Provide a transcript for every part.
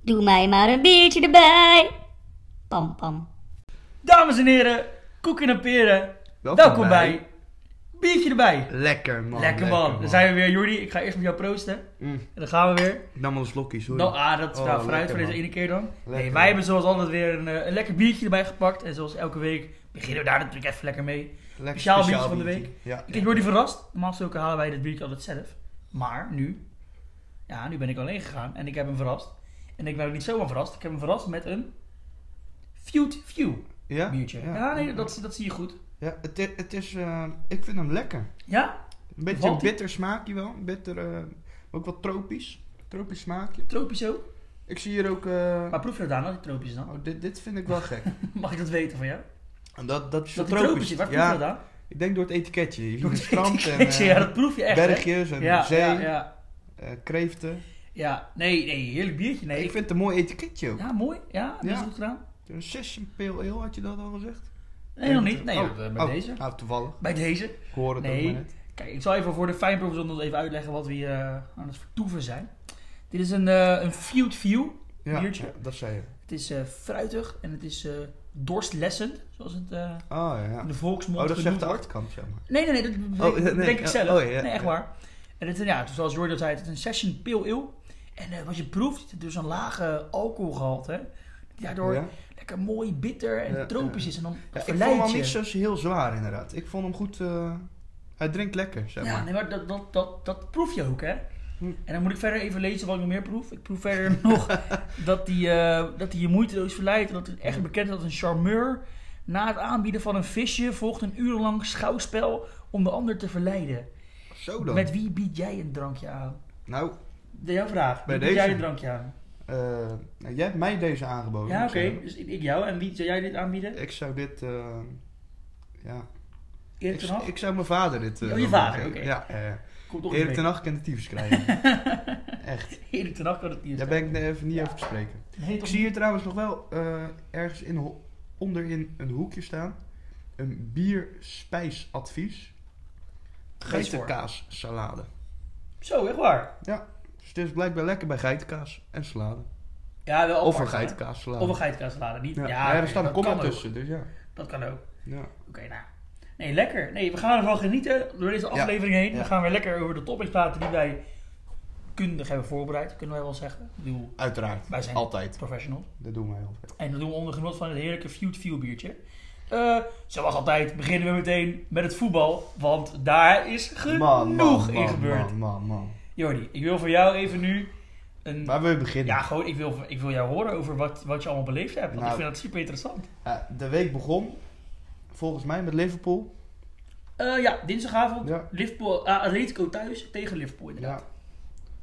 Doe mij maar een biertje erbij. Pam, pam. Dames en heren, koeken en peren. Welkom Welkom, bij. bij. Biertje erbij. Oh, Lekker man. lekker man. Dan zijn we weer, Jordi. Ik ga eerst met jou proosten. Mm. En dan gaan we weer. Ik nam al een slokje, sorry. Nou, ah, dat is Oh, nou, vooruit lekker, voor deze man. ene keer dan. nee, Lekker, wij man. hebben zoals altijd weer een, eh, een lekker biertje erbij gepakt. En zoals elke week beginnen we daar natuurlijk even lekker mee. Lekker speciaal biertje van de biertje. Ja. Ik heb Jordi verrast. Normaal gesproken halen wij dit biertje altijd zelf. Maar nu, ja, nu ben ik alleen gegaan en ik heb hem verrast. En ik ben ook niet zomaar verrast. Ik heb hem verrast met een Feud View Ja? biertje. Ja, nee, dat, dat zie je goed. Ja, het, i- het is... eh, ik vind hem lekker. Ja, Een beetje Valt ie? bitter smaakje wel. Een Bitter... eh, ook wat tropisch. Tropisch smaakje. tropisch ook. Ik zie hier ook... eh, Maar proef je dat dan, die tropisch dan? oh, dit, dit vind ik wel gek. Mag ik dat weten van jou? En dat, dat is Dat zo die tropisch is, waar proef je dat Ja, aan? ik denk door het etiketje. Je Door ziet het strand en etiketje, ja, eh, dat proef je echt. hè? bergjes en ja, zee, Ja, ja, eh, kreeften. ja. Nee, nee, heerlijk biertje. Nee, Ik vind het een mooi etiketje ook. Ja, mooi. Ja, dat is Ja. goed gedaan. Een session pale ale, had je dat al gezegd? Nee, nog Denk niet. het- Nee, oh, dat, eh, bij oh, deze. Nou, toevallig. Bij deze. Ik hoor het Nee. ook maar net. Kijk, ik zal even voor de fijnproevers nog even uitleggen wat we hier eh, aan het vertoeven zijn. Dit is een, eh, een Field View. Ja, Biertje. ja, dat zei je. Het is eh, fruitig en het is eh, dorstlessend, zoals het eh, Oh ja. in de volksmond Oh, dat genoemd zegt de wordt. achterkant, zeg maar. Nee, nee, nee, dat Oh, dat nee, denk ik oh, zelf. oh, ja, nee, echt ja. waar. En het, ja, het- zoals Jordi al zei, het is een session pale ale. En eh, wat je proeft, het is dus een lage alcoholgehalte. die Daardoor Ja. lekker mooi bitter en Ja, tropisch ja. is. En dan Ja, ik verleid vond hem je. niet zo heel zwaar, inderdaad. Ik vond hem goed... eh, hij drinkt lekker, zeg Ja, maar. nee, maar dat, dat, dat, dat proef je ook, hè? Hm. En dan moet ik verder even lezen wat ik nog meer proef. Ik proef verder nog dat hij dat die je moeiteloos verleidt. en Dat het echt bekend is als een charmeur. Na het aanbieden van een visje volgt een urenlang schouwspel om de ander te verleiden. Zo dan. Met wie bied jij een drankje aan? Nou, De jouw vraag. Bij wie bied jij deze. een drankje aan? eh, nou, jij hebt mij deze aangeboden. Ja, moet oké. ik zeggen. Dus ik, ik jou. En wie zou jij dit aanbieden? Ik zou dit... eh, ja. Erik Ik, ten Hag? ik zou mijn vader dit... eh, Oh, je wel vader, geven. oké. Ja, eh Komt toch Erik ten Hag. Hag kan de tyfus krijgen. Echt. Erik ten Hag kan het niet. Daar ben ik even niet over te spreken. Nee, Ik toch zie hier trouwens nog wel eh, ergens in, ho- onderin een hoekje staan. Een bierspijsadvies. Lees voor. Geitenkaassalade. niet? Zo, echt waar. Dus het is blijkbaar lekker bij geitenkaas en salade. Ja, wel of een apart, hè? geitenkaassalade. Of een geitenkaassalade. Niet, Ja, ja, maar ja, oké, er staat dat een komma kan ook. tussen, dus ja. Dat kan ook. ja. Oké, nou. Nee, lekker. Nee, we gaan ervan genieten door deze Ja. aflevering heen. Ja. We gaan weer lekker over de topics praten die wij kundig hebben voorbereid, kunnen wij wel zeggen. Ik bedoel, Uiteraard. Wij zijn- Altijd. professional. Dat doen wij altijd. En dat doen we onder genot van het heerlijke Feud View biertje. Eh, zoals altijd beginnen we meteen met het voetbal, want daar is genoeg Man, man, in man, gebeurd. Man, man, man. Jordi, ik wil voor jou even nu een... Waar wil je beginnen? Ja, gewoon, ik wil, ik wil jou horen over wat, wat je allemaal beleefd hebt, want Nou. ik vind dat super interessant. Ja, Eh, de week begon, volgens mij, met Liverpool. Eh, ja, dinsdagavond, Ja. Liverpool, ah, Atletico thuis tegen Liverpool inderdaad. Ja.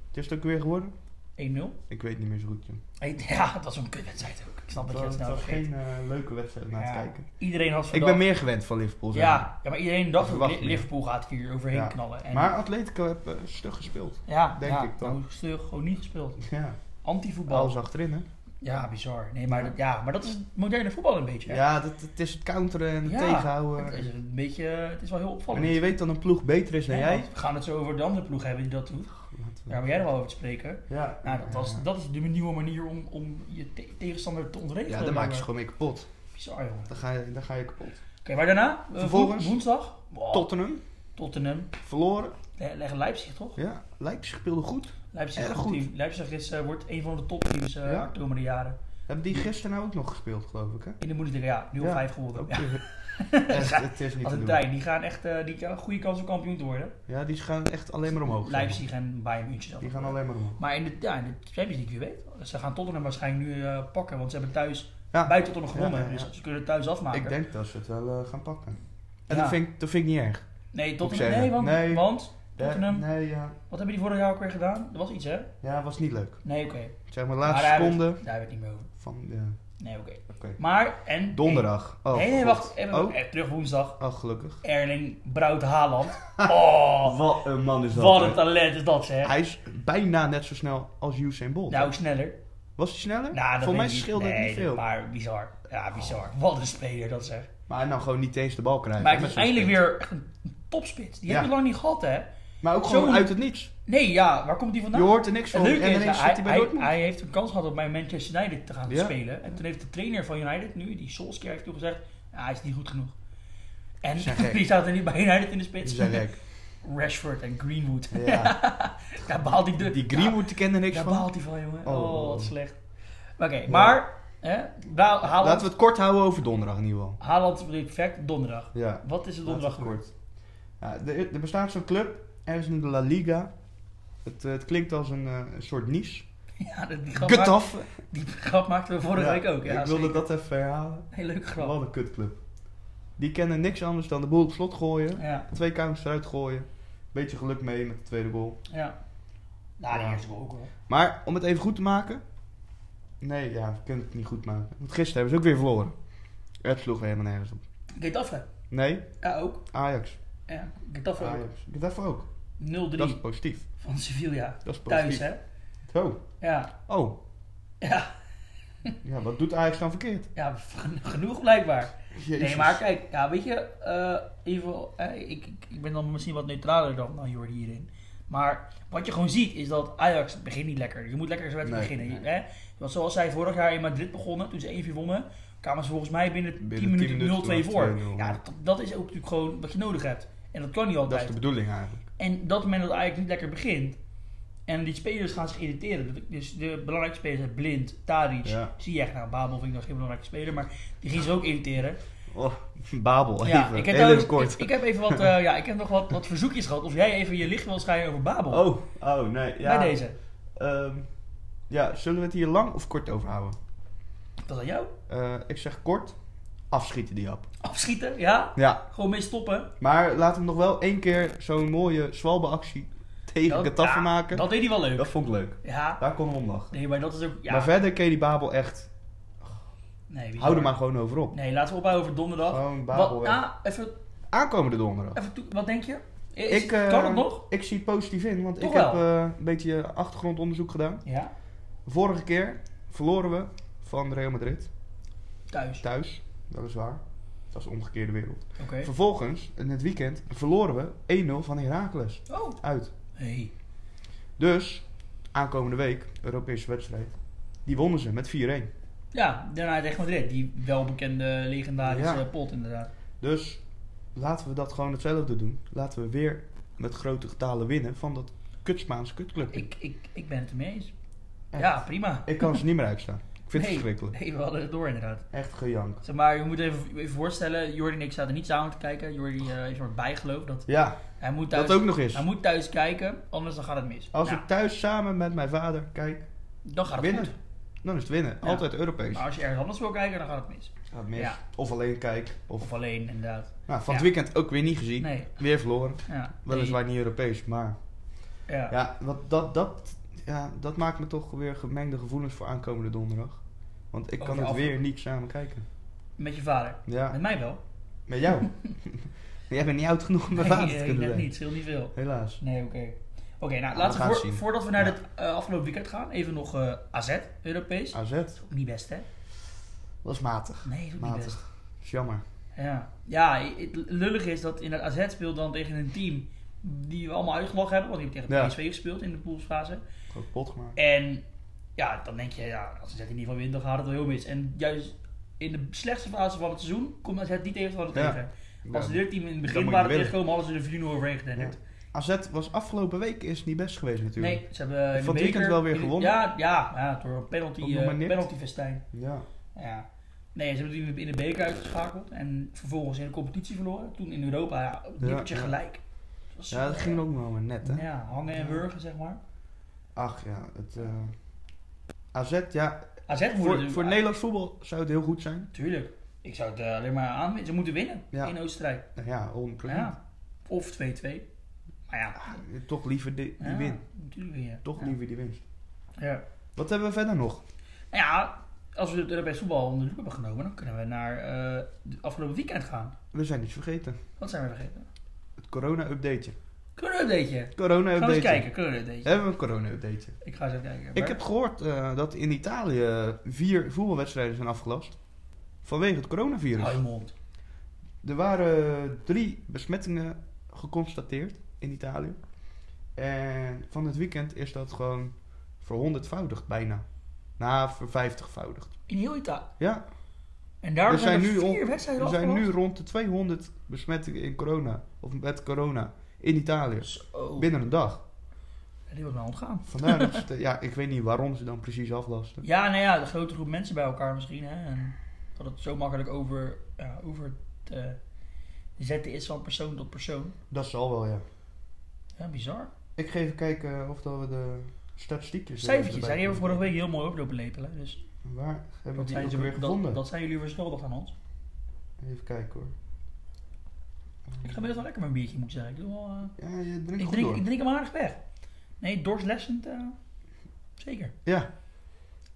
Het is het ook weer geworden? 1-0. Ik weet niet meer zo goed, joh. Ik- Ja, dat was een kutwedstrijd ook. Ik snap dat je het Het snel was vergeet. geen eh, leuke wedstrijd om naar Ja, te kijken. Iedereen had Ik verdacht. ben meer gewend van Liverpool. zeg maar. Ja, ja, maar iedereen dacht Dat ook, verwacht Li- je. Liverpool gaat hier overheen Ja. knallen. En Maar Atletico heb eh, stug gespeeld. ja, denk ja, ik dan. nou, stug, gewoon niet gespeeld. Ja. Antivoetbal. Alles achterin, hè? Ja, bizar. Nee, maar, dat- ja, maar dat is het moderne voetbal een beetje. Ja, hè? dat, het is het counteren en het Ja. tegenhouden. Het is een beetje, eh, het is wel heel opvallend. Wanneer je weet dat een ploeg beter is dan Ja, jij. want We gaan het zo over de andere ploeg hebben die dat doet. Laten we- Daar ben jij nog wel over te spreken. Ja, Nou, dat, was, Ja. dat is de nieuwe manier om, om je te- tegenstander te ontregelen. Ja, dan maak je ze Maar- gewoon mee kapot. Bizar, jongen. Oké, Dan ga je, dan ga je kapot. maar daarna? Eh, Vervolgens? Woensdag? Wow, Tottenham, Tottenham. verloren. Le- Leggen Leipzig, toch? Ja, Leipzig speelde goed. Leipzig, is Erg een goed goed. team. Leipzig is, eh, wordt een van de topteams eh Ja. de komende jaren. Hebben die gisteren nou ook nog gespeeld, geloof ik, hè? In de Bundesliga, ja, nu al Ja. vijf geworden. Ook Ja. weer- Echt, het is niet Als te een doen. tij, die gaan echt eh, die hebben een goede kans om kampioen te worden. Ja, die gaan echt alleen maar omhoog. zeg maar. Leipzig en Bayern München dan. Die gaan alleen maar omhoog. Maar in de, ja, in de Champions League, wie weet. Ze gaan Tottenham waarschijnlijk nu eh, pakken, want ze hebben thuis Ja. bij Tottenham gewonnen. Ja, ja, ja. Dus ze kunnen het thuis afmaken. Ik denk dat ze het wel eh, gaan pakken. En Ja. dat, vind ik, dat vind ik niet erg. nee, moet ik Tottenham, zeggen. nee, want, Nee. want Tottenham, Ja, nee, ja. wat hebben die vorig jaar ook weer gedaan? Dat was iets, hè? Ja, was niet leuk. Nee, oké. Zeg maar, de Maar laatste daar hebben we seconde het- Daar hebben we het niet meer over. van... Ja. Nee, oké. Oké. Maar, en... Donderdag. Oh, nee, nee, God. wacht. Even, Oh, eh, terug woensdag. oh, gelukkig. Erling Braut Haaland. Oh, Wat een man is wat een talent is dat zeg. Hij is bijna net zo snel als Usain Bolt. Nou, sneller. was hij sneller? Nou, dat Voor mij weet ik scheelde nee, het niet veel. Maar... Maar bizar. Ja, bizar. Wat een speler dat zeg. hij nou gewoon niet eens de bal krijgt. Maar Met het is zo'n eindelijk sprint. weer echt een topspits. Die Ja. heb je lang niet gehad hè. Maar ook Zo- gewoon uit het niets. Nee, ja, waar komt die Je vandaan? hoort er niks Het van. leuke En is, ineens hij, zit hij bij hij, Dortmund. hij heeft een kans gehad om bij Manchester United te gaan Ja. spelen. En toen heeft de trainer van United, nu die Solskjaer, heeft toen gezegd, "Ah, hij is niet goed genoeg. En Ze zijn gek. die zaten nu bij United in de Ze spits. zijn gek. Rashford en Greenwood. Ja. Daar behaalt hij de... Die Greenwood die kende niks Daar van. behaalt hij van, jongen. Oh. Oh, wat slecht. Maar Oké, maar... Hè, daar- Haaland, Laten we het kort houden over donderdag in ieder geval. Haaland perfect donderdag. Ja. Wat is er Laten we donderdag het gebeurd? kort. Ja, er, er bestaat zo'n club, ergens in de La Liga. Het, eh, het klinkt als een, eh, een soort niche. Ja, dat- die grap, maak- Getafe. die grap maakten we vorige week ook. Ja, ik wilde zeker. dat even herhalen. Heel leuke grap. Wat een kutclub. Die kennen niks anders dan de boel op slot gooien. Ja, Twee counters eruit gooien. Beetje geluk mee met de tweede goal. ja. Nou, die eerste goal ook hoor. Maar om het even goed te maken. Nee, ja, we kunnen het niet goed maken. Want gisteren hebben ze ook weer verloren. Het sloeg weer helemaal nergens op. Getafe. Nee, Ja, ook. Ajax. Ja, Getafe ook. Ajax. Getafe ook. Ah, Dat is 0-3 positief. van Sevilla. Dat is Thuis, positief. hè? Zo. Ja. Oh, Ja, ja, wat doet Ajax dan verkeerd? ja gen- genoeg blijkbaar. Nee, Jezus. maar kijk, ja, weet je, eh, in ieder geval, eh, ik, ik, ik ben dan misschien wat neutraler dan, dan Jordi hierin. Maar wat je gewoon ziet is dat Ajax het begint niet lekker. Je moet lekker zijn wedstrijd Nee, beginnen. Hè? Want zoals zij vorig jaar in Madrid begonnen, toen ze 1-4 wonnen, kwamen ze volgens mij binnen, 10 minuten, 0-2 voor. 2-0, Ja, ja. dat, dat is ook natuurlijk gewoon wat je nodig hebt. En dat kan niet altijd. Dat is de bedoeling eigenlijk. En dat moment dat eigenlijk niet lekker begint. En die spelers gaan zich irriteren. Dus de belangrijke spelers zijn Blind, Tadic, Ja. Ziyech. Nou, Babel vind ik nog geen belangrijke speler. Maar die ging zich ook irriteren. Oh, Babel, Ja, even. ik, heb Heel trouwens- even kort. Ik, ik heb even wat, eh, ja, ik heb nog wat, wat verzoekjes gehad. Of jij even je licht wil schijnen over Babel. Oh, oh, nee. Ja, Bij deze. ehm, ja, zullen we het hier lang of kort over houden? Dat aan jou. Eh, ik zeg kort, afschieten die hap. Afschieten, ja. Ja, Gewoon mee stoppen. maar laten we nog wel één keer zo'n mooie zwalbe-actie tegen Dat- Getafe ja, maken. Dat deed hij wel leuk. Dat vond ik leuk. Ja. Daar kon we om lachen. Nee, maar dat is ook... Ja. Maar verder ken je die Babel echt. nee, bizar. Hou er maar gewoon over op. Nee, laten we ophouden over donderdag. Gewoon Babel wat, weg. ah, even, Aankomende donderdag. even toe, wat denk je? Is- Ik, eh, kan het nog? Ik zie het positief in, want Toch ik heb wel? eh, een beetje eh, achtergrondonderzoek gedaan. Ja, Vorige keer verloren we van Real Madrid thuis. thuis, weliswaar. Dat is de omgekeerde wereld. Oké. Vervolgens, in het weekend, verloren we 1-0 van Heracles Oh. uit. Hey. Dus, aankomende week, Europese wedstrijd, die wonnen ze met 4-1. Ja, daarna tegen Madrid. Die welbekende legendarische Ja. pot inderdaad. Dus laten we dat gewoon hetzelfde doen. Laten we weer met grote getalen winnen van dat kutspaanse kutclubje. Ik, ik, ik ben het ermee eens. Echt. Ja, prima. Ik kan ze niet meer uitstaan. Ik vind Nee, het verschrikkelijk. Nee, we hadden het door inderdaad. Echt gejank. Zeg maar je moet even, even voorstellen, Jordi en ik zaten niet samen te kijken. Jordi eh, is een soort bijgeloof. Dat Ja, hij, moet thuis, dat ook nog eens. hij moet thuis kijken, anders dan gaat het mis. Als Nou, ik thuis samen met mijn vader kijk, dan gaat het winnen. goed. Dan is het winnen. Ja. Altijd Europees. Maar als je ergens anders wil kijken, dan gaat het mis. Gaat mis. Ja. Of alleen kijk. Of, Of alleen inderdaad. nou, van het Ja. weekend ook weer niet gezien. Nee. Weer verloren. Ja, Weliswaar niet Europees, maar... Nee, ja. Ja, wat, dat, dat, ja, dat maakt me toch weer gemengde gevoelens voor aankomende donderdag. Want ik kan Over het afro- weer niet samen kijken. Met je vader. Ja, Met mij wel. met jou. Jij bent niet oud genoeg om mijn vader nee, te eh, kunnen net zijn. niet. Scheelt niet veel. Helaas. Nee, oké. Oké, nou, we laten gaan we, het voor- zien. voordat we naar Ja. het eh, afgelopen weekend gaan, even nog eh, AZ, Europees. AZ, Ook niet best, hè? was matig. Nee, is ook niet best. Matig. Is jammer. Ja, ja het lullige is dat in het AZ speelt dan tegen een team die we allemaal uitgelachen hebben, want die hebben tegen Ja. PSV gespeeld in de poolsfase. Groot pot gemaakt. En ja, dan denk je, ja, als AZ in ieder geval wint, dan gaat het wel heel mis. En juist in de slechtste fase van het seizoen komt AZ niet tegen wat het Ja. tegen. Als Ja. ze dit team in het Dan begin moet je waren willen. tegengekomen, hadden ze de 4-0 overheen gedenderd. AZ was afgelopen week is niet best geweest natuurlijk. Nee, ze hebben in Van de het beker- weekend wel weer in de- gewonnen. Ja, ja, ja door een penalty, Ook nog maar eh nipt. penalty festijn. Ja. Ja. Nee, ze hebben het in de- in de beker uitgeschakeld en vervolgens in de competitie verloren. Toen in Europa, ja, een Ja, nippertje ja. gelijk. Het was, Ja, dat eh, ging ook nog maar net, hè? Ja, hangen en Ja. wurgen, zeg maar. Ach ja, het... eh, AZ, ja, AZ moet voor, natuurlijk- Ah, voor Nederlands voetbal zou het heel goed zijn. Tuurlijk. Ik zou het eh, alleen maar aan. Ze moeten winnen Ja. in Oostenrijk. Nou ja, 100%. Ja. Of 2-2. Maar ja, Ah, Toch liever die, die ja, win. Natuurlijk winnen. Toch ja. liever die winst. Ja. Wat hebben we verder nog? Nou ja, als we het Europees voetbal onder de loep hebben genomen, dan kunnen we naar eh de afgelopen weekend gaan. We zijn iets vergeten. Wat zijn we vergeten? Het corona-updateje. Kunnen we een beetje? Corona-updateje. Gaan we eens kijken, kunnen we een beetje? Hebben we een corona-updateje. Ik ga eens even kijken. Ik heb gehoord eh, dat in Italië vier voetbalwedstrijden zijn afgelast. Vanwege het coronavirus. Hou je mond. Er waren drie besmettingen geconstateerd in Italië. En van het weekend is dat gewoon verhonderdvoudigd bijna. Nou, vervijftigvoudigd. In heel Italië. Ja, En daar Er zijn, zijn er nu vier on- wedstrijden er zijn nu afgelast. rond de 200 besmettingen in corona. Of met corona. In Italië. Zo. Binnen een dag. Die wordt mij ontgaan. Vandaar dat ze... het- Ja, ik weet niet waarom ze dan precies aflasten. Ja, nou ja, de grote groep mensen bij elkaar misschien. Hè? En dat het zo makkelijk over, ja, over te zetten is van persoon tot persoon. Dat zal wel, ja. Ja, bizar. Ik ga even kijken of dat we de statistiekjes... eh, Cijfertjes, hè, erbij die hebben we vorige kunnen week heel mooi oplopen lepelen. Dus doen. Waar hebben dat we die zijn, ook ze, weer gevonden? dat, dat zijn jullie verschuldigd aan ons. Even kijken hoor. Ik ga best wel lekker mijn biertje, moet ik zeggen. Ik, doe wel, eh, Ja, je drinkt ik, goed drink, door. ik drink hem aardig weg. Nee, dorstlessend, eh, zeker. Ja,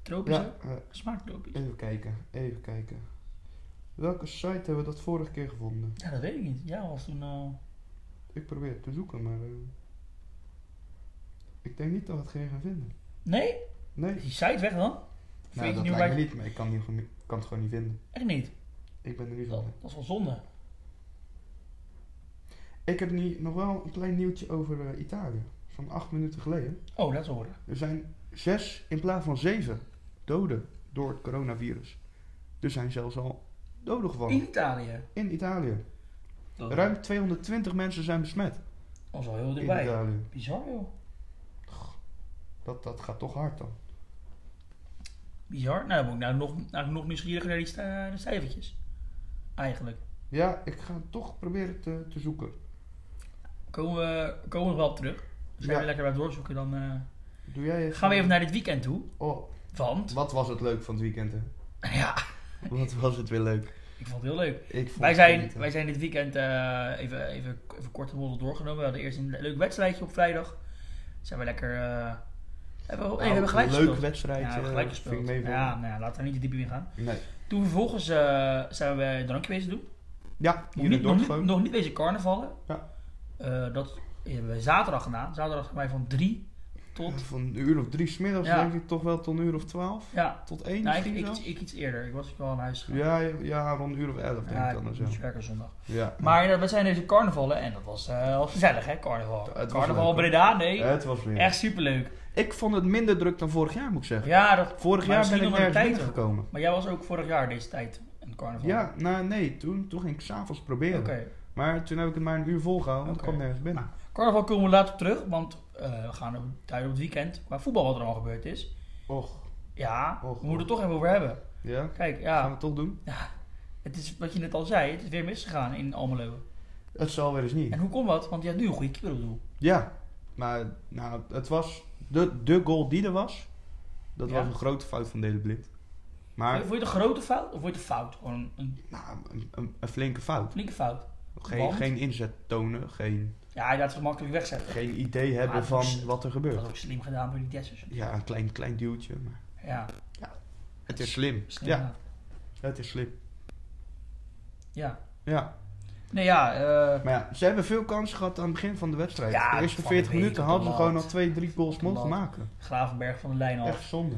Tropisch, ja ja. eh, smaakt tropisch. even kijken. Even kijken. Welke site hebben we dat vorige keer gevonden? Ja, dat weet ik niet. Ja, was toen... eh, Ik probeer het te zoeken, maar... eh, ik denk niet dat we het geen gaan vinden. Nee? Nee. Is die site weg dan? Nou, Fake dat New lijkt me Right- niet, maar ik kan, niet, gewoon- kan het gewoon niet vinden. Echt niet. Ik ben er niet Dat, van. dat is wel zonde. Ik heb nu nog wel een klein nieuwtje over eh, Italië. Van acht minuten geleden. Oh, dat is horen. Er zijn zes in plaats van zeven doden door het coronavirus. Er zijn zelfs al doden In gevallen Italië. in Italië. Dat Ruim 220 mensen zijn besmet was al heel in dichtbij. Italië. Bizar joh. Dat, dat gaat toch hard dan. Bizar. Nou, dan ben ik nou nog, nou, nog nieuwsgieriger naar die sta- de cijfertjes. Eigenlijk. Ja, ik ga het toch proberen te, te zoeken. Komen we, komen we nog wel op terug. Als jij Ja. weer lekker blijft doorzoeken, dan eh, Doe jij even... gaan we even naar dit weekend toe. Oh, Want, wat was het leuk van het weekend, hè? ja, Wat was het weer leuk. ik vond het heel leuk. Ik vond Wij het zijn, genieten. wij zijn dit weekend eh, even, even, even kort en bondig doorgenomen. We hadden eerst een leuk wedstrijdje op vrijdag. Zijn we lekker... eh hebben Oh, we, nee, we Nou, hebben gelijk een gespeeld. leuke wedstrijd. Ja, we eh, hebben gelijk Vind ik gespeeld. mee voor. Ja, nou, ja, laten we niet te diep in gaan. Nee. Toen vervolgens eh, zijn we een drankje bezig doen. Ja, Nog hier niet, in nog, niet, Dortmund. nog niet deze carnavallen. Ja. Eh, dat hebben we zaterdag gedaan. Zaterdag zijn wij van 3 tot. Van een uur of drie smiddags Ja. denk ik toch wel tot een uur of twaalf. Ja, Tot één nou, ik, misschien ik, zelfs. ik iets eerder. Ik was wel aan huis gegaan. ja, ja, ja, rond een uur of elf denk Ja, ik dan. ik Zo. moest werken zondag. Ja. Maar inderdaad, we zijn deze carnavallen en dat was eh, wel gezellig, hè? Carnaval. Het was carnaval leuk, hoor. Breda, nee. Ja, het was weer. Echt superleuk. Ik vond het minder druk dan vorig jaar moet ik zeggen. Ja, dat, Maar Vorig jaar misschien ben ik nog een nergens tijd binnengekomen. maar jij was ook vorig jaar deze tijd een carnaval. Ja, nou nee, toen, toen ging ik s'avonds oké. proberen. Maar toen heb ik het maar een uur volgehouden, want Oké. ik kwam nergens binnen. Carnaval komen we later op terug, want eh, we gaan op- daar op het weekend. Maar voetbal wat er al gebeurd is. Nou, Och, Ja, Och, we moeten het toch even over hebben. ja. Kijk, Gaan we ja. het toch doen? Het is wat je net al zei, het is weer misgegaan in Almelo. Het zal weer eens niet. En hoe komt dat? Want je hebt nu een goede keeper op doel. Ja, maar nou, het was de, de goal die er was. Dat Ja. was een grote fout van Dele Blind. Maar Vond je het een grote fout of vond je het een fout? Gewoon een nou, een, een, een flinke fout. flinke fout. Geen, Want? geen inzet tonen, geen, Ja, hij laat het gemakkelijk wegzetten. geen idee hebben Maar van het is- wat er Dat gebeurt. was ook slim gedaan door die Dessers. Ja, een klein, klein duwtje. Maar Ja, het is slim. slim Ja, gedaan. het is slim. Ja. Ja. Nee, ja. eh Maar ja, ze hebben veel kansen gehad aan het begin van de wedstrijd. Ja, de eerste van de 40 week minuten op de hadden ze lat. gewoon al twee, drie goals Op de mogen lat. maken. Gravenberg van de lijn af. Echt zonde.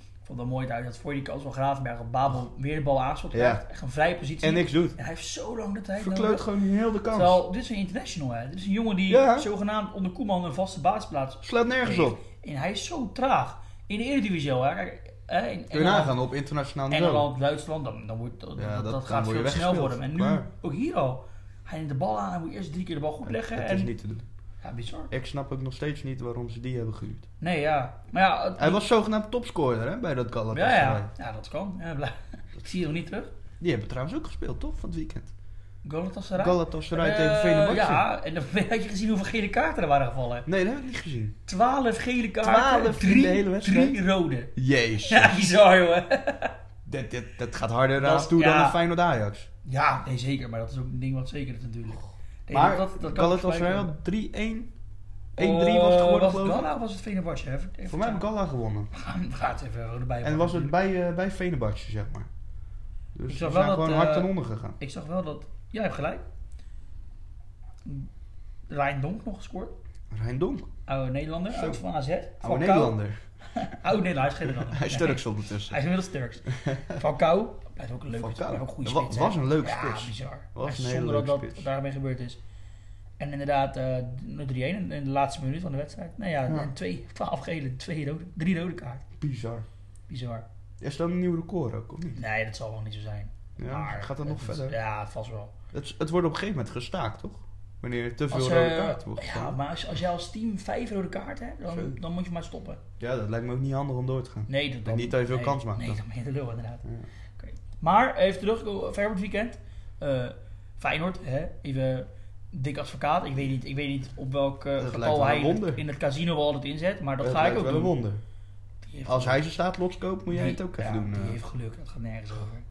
Ik vond het mooi uit dat voor die kans van Gravenberg op Babel weer de bal aanschot krijgt. Echt een vrije positie. En niks doet. En hij heeft zo lang de tijd Verkleut gewoon heel de kans. Terwijl, dit is een international, hè. Dit is een jongen die Ja. zogenaamd onder Koeman een vaste basisplaats Slaat nergens Nee. op. En hij is zo traag. In de Eredivisie al, hè. Kijk, hè, in Kun je Engeland, nagaan op internationaal niveau. Engeland, Duitsland, dan, dan wordt, dat, Ja, dat, dat- dat dan gaat word veel je te snel weggespeeld. worden. En nu, Klaar. ook hier al. Hij neemt de bal aan, hij moet eerst drie keer de bal goed leggen. Het en, is niet te doen. Ja, bizar. Ik snap ook nog steeds niet waarom ze die hebben gehuurd. Nee, ja. Maar ja, het- Hij was zogenaamd topscorer hè, bij dat ja, Galatasaray. ja. ja, dat kan. Ja, bla- Ik zie je nog niet terug. Die hebben trouwens ook gespeeld, toch? Van het weekend. Galatasaray. Galatasaray Eh, tegen Fenerbahce. Ja, en dan had je gezien hoeveel gele kaarten er waren gevallen. Nee, dat heb ik niet gezien. 12 gele kaarten, 3 12 in drie, de hele wedstrijd? drie rode. Jezus. Ja, bizar jongen. Dat, dat, dat gaat harder Dat aan is- toe dan ja. een Feyenoord Ajax. Ja, nee zeker, maar dat is ook een ding wat zeker is natuurlijk. Nee, maar dat- dat- dat kan Galatasaray volgens had 3-1. 1-3 mij was het geworden, Eh, geloof ik. Gala of was het Fenerbahce? Even, even Voor mij heb gaan. Gala gewonnen. We gaan, we gaan het even rode bij En was het bij, eh bij Fenerbahce, zeg maar. Dus Ik ze zag zijn wel dat, gewoon eh, hard ten onder gegaan. Ik zag wel dat... Jij hebt gelijk. Rijn Donk nog gescoord. Rijn Donk, Oude Nederlander, Zo. oud van AZ. Falcao. oude Nederlander. Oude Nederlander, hij is geen Nederlander. Hij is Nee. Turks ondertussen. Hij is inmiddels Turks. Falcao, blijft ook een leuke, Falcao. blijft ook een goede Dat wa- spits. hè? was een leuke ja, spits. bizar. Was Echt een hele Zonder dat leuke dat spits. daarmee gebeurd is. En inderdaad, eh 3-1 in in de laatste minuut van de wedstrijd. Nou ja, Ja. en twee, 12 gele, twee rode, drie rode kaarten. Bizar. Bizar. Is dat een nieuw record ook, of niet? Nee, dat zal wel niet zo zijn. Ja, Maar gaat dat nog het- verder? Ja, vast wel. Het, het wordt op een gegeven moment gestaakt, toch? Wanneer er te veel Als, rode eh, kaarten wordt ja, gestaan. maar als, als jij als team vijf rode kaarten hebt, Zo. dan, dan moet je maar stoppen. Ja, dat lijkt me ook niet handig om door te gaan. Nee, dat, dan, En niet dat je veel nee, kans maakt, Nee, dan. dan ben je de lul inderdaad. Ja. Oké. Maar even terug over het weekend. Eh Feyenoord, hè? even dik advocaat. Ik weet niet, ik weet niet op welk eh, Dat lijkt getal wel een hij in wonder. het, in het casino wel altijd inzet, maar dat, Het ga ik lijkt ook wel doen. een wonder. Die heeft Als geluk. hij ze staat loskoopt, moet jij Die- het ook ja, even doen. Die eh. heeft geluk, dat gaat nergens over.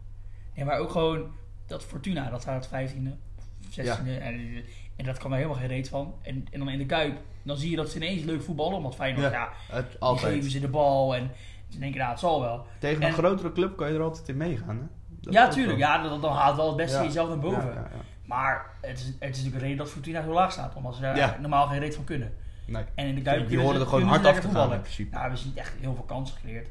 Nee, maar ook gewoon dat Fortuna, dat staat 15e, 16e. En, eh, en dat kan daar helemaal geen reet van. En, en dan in de Kuip, dan zie je dat ze ineens leuk voetballen. Want Feyenoord, Ja, ja, het, die geven altijd. ze de bal. En ze denken, nou, het zal wel. Tegen een en- grotere club kan je er altijd in meegaan, hè? Dat ja, is ook tuurlijk. wel- Ja, dan, dan haalt wel het beste Ja. jezelf naar boven. Ja, ja, ja. Maar het is, het is natuurlijk een reden dat Fortuna zo laag staat. Omdat ze daar Ja. normaal geen reet van kunnen. Nee. En in de Kuip Die kunnen horen ze- er gewoon kunnen ze hard af lekker te gaan, voetballen. in principe. Nou, hebben ze niet echt heel veel kansen gecreëerd.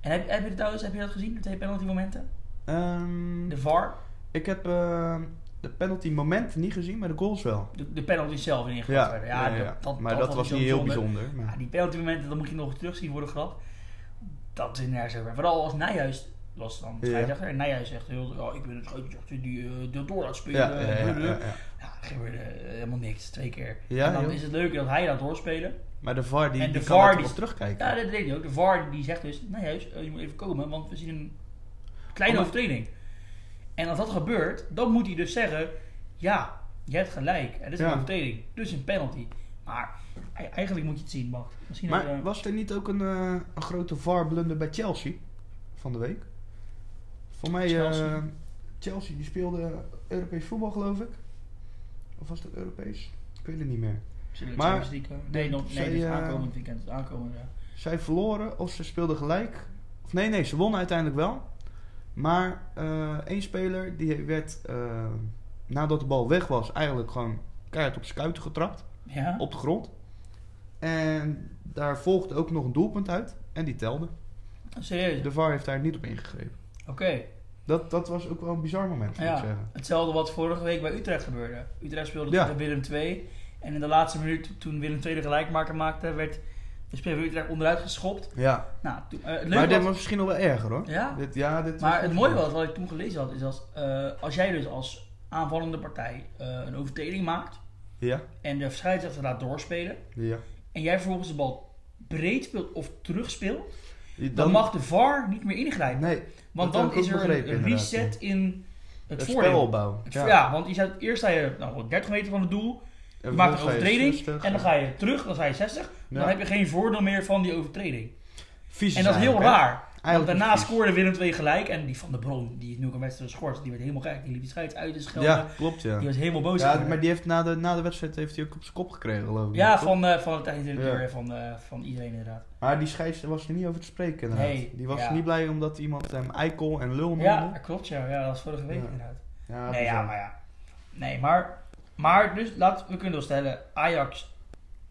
En heb, heb, je, dat trouwens, heb je dat gezien, de twee penalty momenten? Ehm, De VAR, ik heb eh, de penalty momenten niet gezien, maar de goals wel. de, de penalty zelf in ingegaan Ja, werden. ja, ja. maar dat, was zo niet heel bijzonder. maar- Ja, die penalty momenten, dat moet je nog terugzien worden gehad. Dat is nergens over. Vooral als Nijhuis was dan Ja. scheidsrechter. En Nijhuis zegt, heel, ja, ik ben het scheidsrechter die eh, dat door laat spelen. Ja, ja, ja, eh, ja, eh, ja, eh. ja. Ja, er gebeurde eh, helemaal niks, twee keer. Ja, en dan joh. is het leuke dat hij dat doorspelen. Maar de VAR die, En de die VAR kan die- erop terugkijken. Ja, dat deed hij ook. De VAR die zegt dus, nou juist, eh, je moet even komen, want we zien een kleine Oh, maar- overtreding. En als dat gebeurt, dan moet hij dus zeggen, ja, je hebt gelijk. Er is een Ja. overtreding, dus een penalty. Maar e- eigenlijk moet je het zien, Bart. Misschien maar dat, eh, was er niet ook een, eh, een grote VAR-blunder bij Chelsea van de week? Voor mij, eh, Chelsea? Chelsea, die speelde Europees voetbal, geloof ik. Of was dat Europees? Ik weet het niet meer. zullen we maar- Champions League, eh, nee, nog, nee, zij, dus eh, aankomend weekend, dus aankomend, ja. Zij verloren of ze speelden gelijk. Of nee, nee, ze wonnen uiteindelijk wel. Maar eh, één speler die werd, eh, nadat de bal weg was, eigenlijk gewoon keihard op zijn kuiten getrapt. ja. Op de grond. En daar volgde ook nog een doelpunt uit. En die telde. Serieus, De VAR heeft daar niet op ingegrepen. oké. Dat, dat was ook wel een bizar moment, moet ik Ja, zeggen. hetzelfde wat vorige week bij Utrecht gebeurde. Utrecht speelde Ja. tegen Willem II. En in de laatste minuut, toen Willem II de gelijkmaker maakte, werd de speler van Utrecht onderuit geschopt. Ja. Nou, toen, eh, het leuke Maar dit was- was misschien nog wel erger hoor. Ja? Dit, ja, dit maar het mooie was, wat ik toen gelezen had, is dat eh, als jij dus als aanvallende partij eh, een overtreding maakt Ja, en de scheidsrechter laat doorspelen ja. en jij vervolgens de bal breed speelt of terugspeelt, Dan, dan mag de VAR niet meer ingrijpen. Nee, want dat heb dan ik ook is er begrepen, een inderdaad, reset in het, het spel voordeel. opbouwen. Het- Ja. want je staat, eerst sta je nou, 30 meter van het doel, je En maakt een vervolgens ga je overtreding 60. en dan ga je terug, dan sta je 60. Ja. Dan heb je geen voordeel meer van die overtreding. Vies En dat is heel eigenlijk, hè? raar. Want Eigenlijk daarna is het scoorde Willem II gelijk. En die van de Bron, die nu een wedstrijd geschorst, die werd helemaal gek. Die liep die scheids uit te vies. schelden. Ja, klopt ja. Die was helemaal boos. Ja, geworden. maar die heeft na de, na de wedstrijd heeft hij ook op zijn kop gekregen geloof ik. ja toch? van, eh, van de technische directeur Ja. en van, eh, van iedereen inderdaad. Maar die scheids was er niet over te spreken inderdaad. Nee, die was ja. niet blij omdat iemand hem eikel en lul noemde. Ja, dat klopt. Ja. ja, dat was vorige week Ja. inderdaad. Ja, nee, ja, bizar. maar ja. Nee, maar, maar dus laat, we kunnen wel stellen, Ajax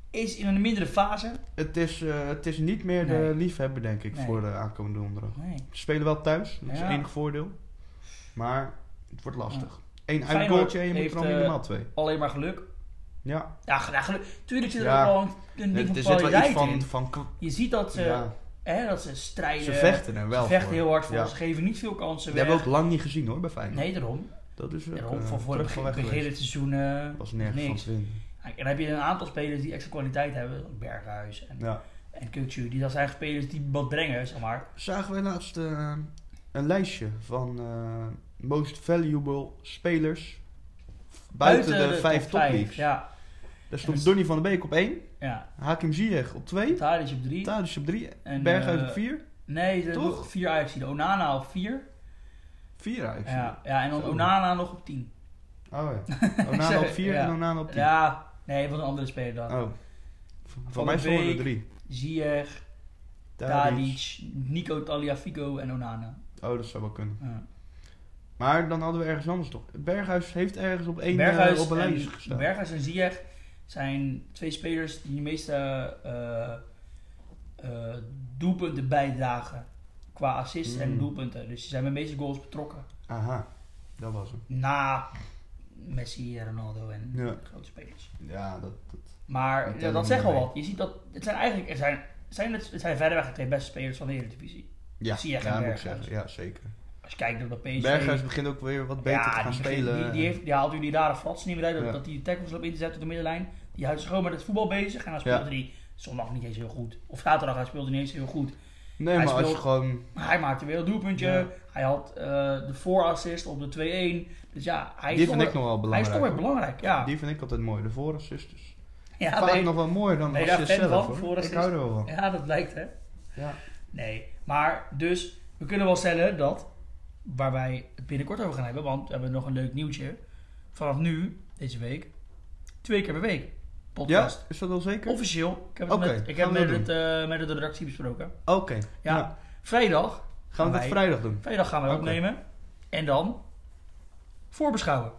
is in een mindere fase. Het, is, eh, het is niet meer Nee. de liefhebber denk ik Nee. voor de aankomende donderdag. Nee. Ze spelen wel thuis, dat is Ja. het enige voordeel. Maar het wordt lastig. Eén Feyenoord uitgoaltje en je moet heeft, er al eh, minimaal twee. Alleen maar geluk. Ja, Ja, ge- ja, geluk. Tuurlijk zit er Ja. ook wel een- een ding er van zit wel iets kwaliteit van... in. van k- Je ziet dat ze, ja, hè, dat ze strijden. ze vechten er wel Ze vechten voor. heel hard voor. Ja. Ze geven niet veel kansen Die weg. hebben we ook lang niet gezien hoor, bij Feyenoord. Nee, daarom. Dat is ook, Daarom eh, van voor terug het van begin, weg begin geweest. het seizoen. eh, was nergens van niks. te vinden. En dan heb je een aantal spelers die extra kwaliteit hebben. zoals Berghuis en, Ja. en Kukçu. Die dat zijn eigenlijk spelers die wat brengen, zeg maar. Zagen we laatst eh, een lijstje van eh, most valuable spelers buiten, de, vijf top vijf, topleagues. Ja, Daar En stond is- Donny van der Beek op één, ja. Hakim Ziyech op twee, Tadic op drie. Tadic op drie, En, Berghuis eh, op vier. nee, er Toch? nog vier Ajax. De Onana op vier. Vier eigenlijk. Ja, ja, en dan Zo. Onana nog op tien. Oh ja. Onana op 4 Ja. en Onana op 10. Ja, nee, wat een andere speler dan. Oh. Voor- Voor Van mij de stonden er Beek, 3. Ziyech, Tadic, Nico Taliafico en Onana. Oh, dat zou wel kunnen. Ja. Maar dan hadden we ergens anders toch. Berghuis heeft ergens op één Berghuis, eh, op een en, lijstje gestaan. Berghuis en Ziyech zijn twee spelers die de meeste eh, eh, doelpunten bijdragen. Qua assists en Mm. doelpunten. Dus die zijn bij de meeste goals betrokken. Aha, dat was hem. Na Messi, Ronaldo en Ja. grote spelers. Ja, dat, dat Maar Die ja, tellen dat zegt wel mee. wat. Je ziet dat het zijn eigenlijk er zijn, zijn het, het zijn verreweg de twee beste spelers van de Eredivisie. ja, Zie je ja, geen moet ik Berghuis? zeggen. Ja, zeker. Als je kijkt naar dat PSV. Berghuis begint ook weer wat beter ja, te gaan die, begint- spelen. Die, die, heeft, die haalt jullie rare fratsen niet meer uit. Dat, Ja. dat die tackles loopt in te zetten op de middenlijn. Die houdt zich gewoon met het voetbal bezig. En dan speelde Ja. hij zondag niet eens heel goed. Of zaterdag, hij speelde niet eens heel goed. nee, hij maar als je speelt- gewoon... Maar hij maakte weer een doelpuntje. Ja. Hij had eh, de voorassist op de 2-1. Dus ja, hij Die is vind toch ik nog wel wel- hij is belangrijk. toch weer belangrijk. Ja, Die vind ik altijd mooi, de voorassisters. ja, Vaak nee. nog wel mooier dan ben je als je daar fan zelf, van, hoor. Ik voorassist? hou er wel van. ja dat blijkt hè. Ja. Nee, maar dus we kunnen wel stellen dat, waar wij het binnenkort over gaan hebben, want we hebben nog een leuk nieuwtje. Vanaf nu, deze week, twee keer per week ja, podcast. is dat wel zeker? Officieel, ik heb het Oké, met, ik gaan heb we met, doen. het, eh, met de redactie besproken. Oké, Ja, nou, vrijdag, gaan we dat wij- vrijdag doen. vrijdag gaan we Oké. opnemen en dan voorbeschouwen.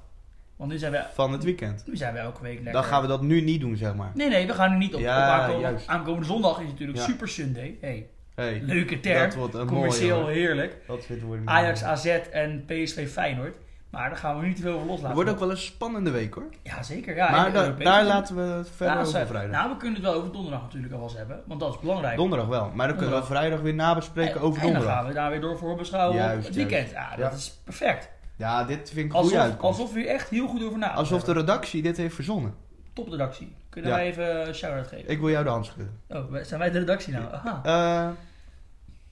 Want nu zijn we, Van het weekend. nu zijn we elke week lekker. Dan gaan we dat nu niet doen, zeg maar. Nee, nee, we gaan nu niet op. Ja, op aankomende, juist. aankomende zondag is natuurlijk Ja. Super Sunday. Hey, Hey, leuke term, Dat wordt een mooie, commercieel hoor. heerlijk. Dat vindt wordt een Ajax, mooie. AZ en PSV Feyenoord. Maar daar gaan we niet te veel over loslaten. Het wordt ook wel een spannende week, hoor. Ja, zeker. Ja, maar en da- Europees. daar laten we het Ja, verder dat over zijn- vrijdag. Nou, we kunnen het wel over donderdag natuurlijk al wel eens hebben. Want dat is belangrijk. donderdag wel. Maar dan kunnen we Donderdag. vrijdag weer nabespreken Eh, En- over En dan donderdag. gaan we daar weer door voor beschouwen Juist, op het weekend. juist. Ja, dat Ja. is perfect. Ja, dit vind ik goed Alsof, uitkomt. alsof we hier echt heel goed over na. Alsof de redactie dit heeft verzonnen. Topredactie. Kunnen Ja. wij even een shout-out geven? Ik wil jou de hand schudden. Oh, wij- zijn wij de redactie nou? Aha. Eh,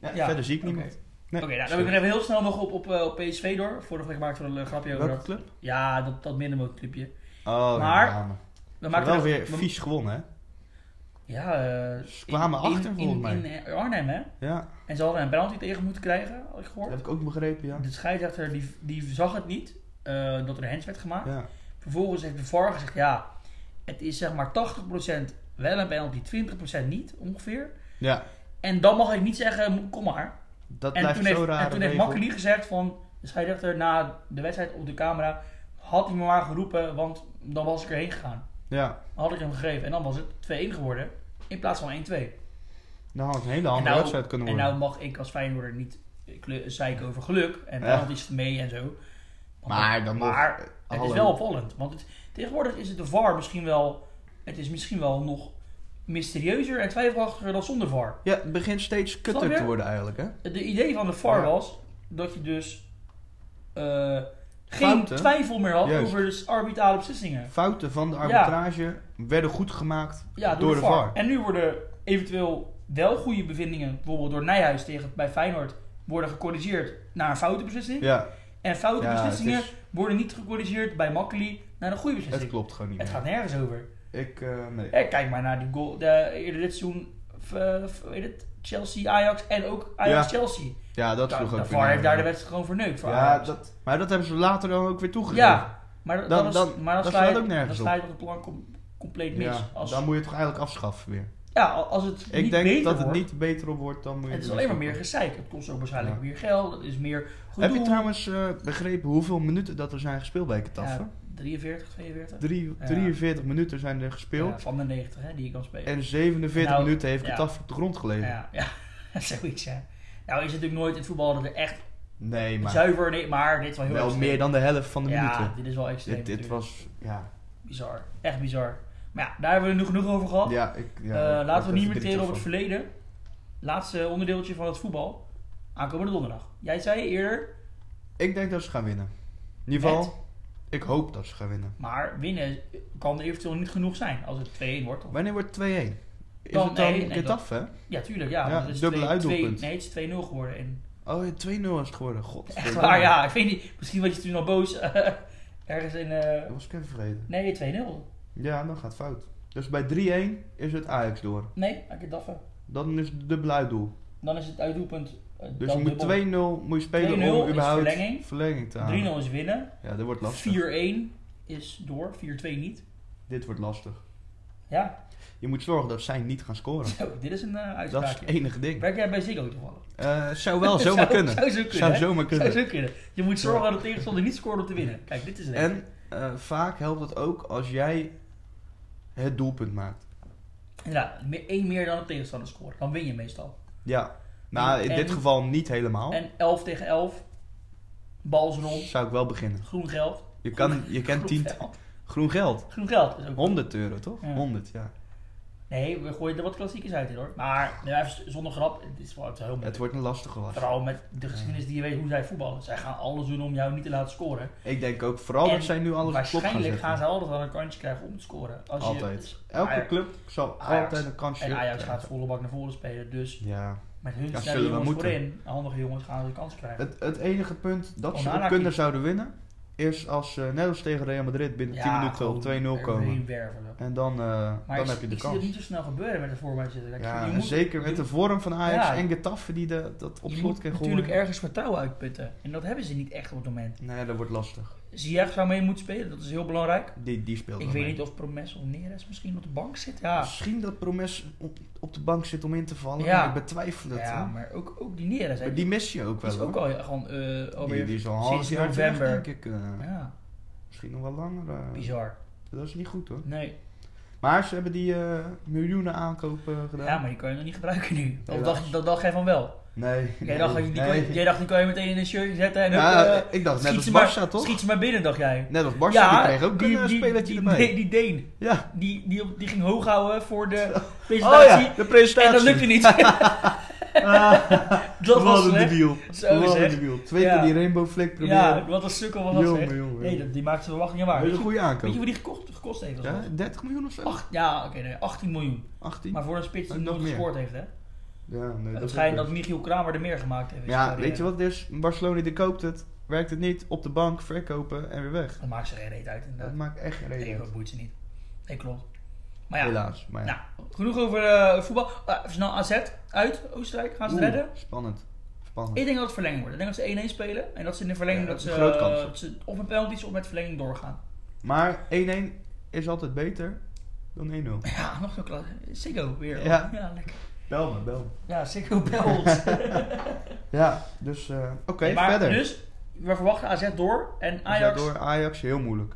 ja, Ja, verder zie ik oké. niemand. Nee, Oké, nou, dan sorry. wil ik nog even heel snel nog op, op, eh, op PSV door. Vorige week maakten we een eh, grapje over Welke dat. club? Ja, dat, dat minimumclubje. Oh, Maar- ja, maar. We Maar maakten wel weer we- vies gewonnen, hè? Ja, eh, Ze kwamen in- achter, in- volgens mij. In, eh, Arnhem, hè? Ja, En ze hadden een penalty tegen moeten krijgen, had ik dat gehoord. heb ik ook begrepen, ja. De scheidsrechter die, die zag het niet, eh, dat er een hands werd gemaakt. Ja, Vervolgens heeft de VAR gezegd, ja, het is zeg maar 80% wel een penalty, 20% niet, ongeveer. ja En dan mag ik niet zeggen, kom maar. dat En blijft toen, zo heeft, raar. en toen heeft Makkeli gezegd van, de scheidsrechter na de wedstrijd op de camera, had hij me maar geroepen, want dan was ik erheen gegaan. Ja, Dan had ik hem gegeven en dan was het 2-1 geworden, in plaats van 1-2. dan had het een hele En andere nou- wedstrijd kunnen En worden. nou mag ik als Feyenoorder niet eh, kle- zeiken over geluk en Ja. penalties mee en zo. Want Maar dat- dan nog- maar eh, het hallo. is wel opvallend. Want het, tegenwoordig is het de VAR misschien wel... Het is misschien wel nog mysterieuzer en twijfelachtiger dan zonder VAR. Ja, het begint steeds Snap kutter je? te worden eigenlijk, hè? Het de idee van de VAR Ja. was dat je dus eh, geen Fouten. twijfel meer had Juist. over de s- arbitrale beslissingen. Fouten van de arbitrage werden goed gemaakt Ja, door, de, VAR. En nu worden eventueel wel goede bevindingen, bijvoorbeeld door Nijhuis tegen, bij Feyenoord, worden gecorrigeerd naar een foute beslissing. Ja, En foute Ja, beslissingen het is- worden niet gecorrigeerd bij Makkeli naar een goede beslissing. het klopt gewoon niet Het meer. gaat nergens over. Ik, eh, nee. Hè, kijk maar naar die goal de, eerder dit seizoen. v- v- weet het, Chelsea, Ajax en ook Ajax, Chelsea. Ja, dat Nou, sloeg ook de weer VAR heeft nergens daar de op. wedstrijd gewoon verneukt. Voor Ja, Ajax. dat, maar dat hebben ze later dan ook weer toegegeven. ja, maar dat- Dan- dat, is, dan- maar dat dan sla je, slaat ook nergens dan sla je toch het plan com- compleet mis. Ja, als, dan moet je het toch eigenlijk afschaffen weer. ja, als het Ik niet denk beter dat het wordt, niet beter op wordt, dan moet je het is weer alleen maar meer afschaffen. gezeik. Het kost ook waarschijnlijk Ja. meer geld, het is meer Heb gedoe. je trouwens eh, begrepen hoeveel minuten dat er zijn gespeeld bij Ketaffen? ja, 43, 42? Drie- Ja. 43 minuten zijn er Ja, gespeeld. van de 90 hè, die je kan spelen. En 47 Nou, minuten heeft ja. Ketaffen op de grond gelegen. Ja, ja, zoiets ja. Nou is het natuurlijk nooit in het voetbal dat er echt Nee, maar zuiver... Nee, maar dit is wel heel wel extreem. meer dan de helft van de Ja, minuten. dit is wel extreem Dit, dit natuurlijk. was, ja. Bizar. Echt bizar. Maar ja, daar hebben we nu genoeg over gehad. ja, ik, ja Eh, ik word laten er we niet meer verdrietig teren op het van. verleden. Laatste onderdeeltje van het voetbal. Aankomende donderdag. Jij zei eerder, Ik denk dat ze gaan winnen. In ieder Met? geval, ik hoop dat ze gaan winnen. maar winnen kan eventueel niet genoeg zijn als het 2-1 wordt. Of- Wanneer wordt het 2-1? Is Dan- het dan nee, nee, dat- Getafe? Ja, tuurlijk. Ja, Ja, want het is dubbele 2-2 uitdoelpunt. nee, het is 2-0 geworden. En Oh, ja, 2-0 is het geworden. God. echt waar, ja. Ik weet niet, misschien was je toen al boos. ergens in... eh, Dat was ik even vergeten. nee, 2-0. Ja, dan gaat het fout. Dus bij 3-1 is het Ajax door. Nee, ik heb daffen. Dan is het dubbel uitdoel. Dan is het uitdoelpunt. eh, Dus dan je moet dubbel. 2-0 moet je spelen 2-0 om is überhaupt verlenging. te halen. 3-0 is winnen. Ja, dit wordt lastig. 4-1 is door. 4-2 niet. Dit wordt lastig. Ja, Je moet zorgen dat zij niet gaan scoren. zo, dit is een eh Dat is het uitspraakje. enige ding. Werk jij bij Ziggo toevallig? Eh, zou wel zomaar Zou- kunnen. Zou zo kunnen. zou hè? zomaar kunnen. Zou zo kunnen. Je moet zorgen dat de tegenstander niet scoort om te winnen. Kijk, dit is het. En eh, vaak helpt het ook als jij het doelpunt maakt. Ja, me- één meer dan de tegenstander scoort. Dan win je meestal. Ja. Nou, in En- dit geval niet helemaal. En 11 tegen 11. Bal is rond. Zou ik wel beginnen. Groen geld. Je, kan, je kent 10 geld. groen geld. Groen geld. is ook- 100 euro toch? Ja. 100, ja. Nee, we gooien er wat klassiekers uit in hoor. Maar nou, even zonder grap, het is wel het is heel moeilijk. Het wordt een lastige was. Vooral met de geschiedenis die je weet hoe zij voetballen. Zij gaan alles doen om jou niet te laten scoren. Ik denk ook vooral En dat zij nu alles op klop gaan Waarschijnlijk zetten. gaan ze altijd wel een kansje krijgen om te scoren. Als Altijd. Je, Elke Ajax- club zal Ajax. altijd een kansje En Ajax krijgen. gaat volle bak naar voren spelen. Dus Ja. met hun Ja, snelle zullen we jongens moeten. voorin, handige jongens, gaan ze een kans krijgen. Het, het enige punt dat ze Onana op kunnen kiest. zouden winnen, is als ze net als tegen Real Madrid binnen 10 minuten op 2-0 komen. En dan, eh, Maar dan ik, heb je de ik zie dat kans. niet zo snel gebeuren met de formatie. Kijk, Ja, je en moet- zeker met je- de vorm van Ajax Ja. en Getafe die de, dat op je slot moet kan natuurlijk gooien. ergens vertrouwen uitputten. En dat hebben ze niet echt op het moment. Nee, dat wordt lastig. Ziyech zou mee moeten spelen, dat is heel belangrijk. Die, die speelt Ik wel weet mee. niet of Promes of Neres misschien op de bank zit. Ja, Misschien dat Promes op, op de bank zit om in te vallen, Ja. maar ik betwijfel het. ja hoor. maar ook, ook die Neres. hè, eh? Maar die mis je ook die wel is ook hoor. al gewoon eh, die, alweer... die is al een sinds half jaar weg, november. denk ik. eh. Ja, Misschien nog wel langer. eh. bizar. Dat is niet goed hoor. Nee, Maar ze hebben die eh, miljoenen aankopen gedaan. ja, maar die kan je nog niet gebruiken nu. Of Helaas. dacht, dat dacht jij van wel? Nee. Jij dacht, die, die nee. kan, jij dacht, die kan je meteen in een shirtje zetten en... Ja, hup, eh, ik dacht net schiet als ze Barca maar, toch? Schiet ze maar binnen, dacht jij. Net als Barca, die kreeg ook een eh, spelertje die, erbij. Die, die Deen, ja. die, die, op- die ging hoog houden voor de Oh presentatie. ja, de presentatie. En dat lukte niet. Ah, dat was wat een slecht. debiel. Zo Wat een zeg. debiel. Twee Ja. keer die rainbow flag Ja, proberen. wat een sukkel was dat jongen, zeg. jongen. Nee, dat, die maakte de verwachtingen waar. Hele Weet je goede weet je aankoop. wat die gekocht, gekost heeft? Ja, Ja, 30 miljoen of zo? Acht, ja oké, nee, 18 miljoen. 18? Maar voor een spits die Nog nooit meer. gescoord heeft, hè. ja, nee, Het dat schijnt ook dat Michiel Kramer er meer gemaakt heeft. Dus, eh, in zijn Ja, carrière. weet je wat het is? Barcelona die koopt het, werkt het niet, op de bank, verkopen en weer weg. eh, Dat maakt ze geen reet uit, Dat inderdaad. maakt echt geen Nee, reden. uit. dat boeit ze niet. Nee, klopt. Maar ja, Helaas. Maar ja. Nou, genoeg over eh, voetbal. Eh, even snel AZ uit Oostenrijk. Gaan ze het Oeh, redden? Spannend. Spannend. Ik denk dat het verlenging wordt. Ik denk dat ze 1-1 spelen. En dat ze in de verlenging Ja, dat dat ze, eh, is een grote kans. dat ze of met penalties of met verlenging doorgaan. Maar 1-1 is altijd beter dan 1-0. Ja, nog zo'n klas. Siggo weer. Ja. lekker. Bel me, bel me. Ja, Siggo bij ons. Ja, dus eh, oké, maar verder. dus, we verwachten AZ door. En We zijn Ajax. Door Ajax, heel moeilijk.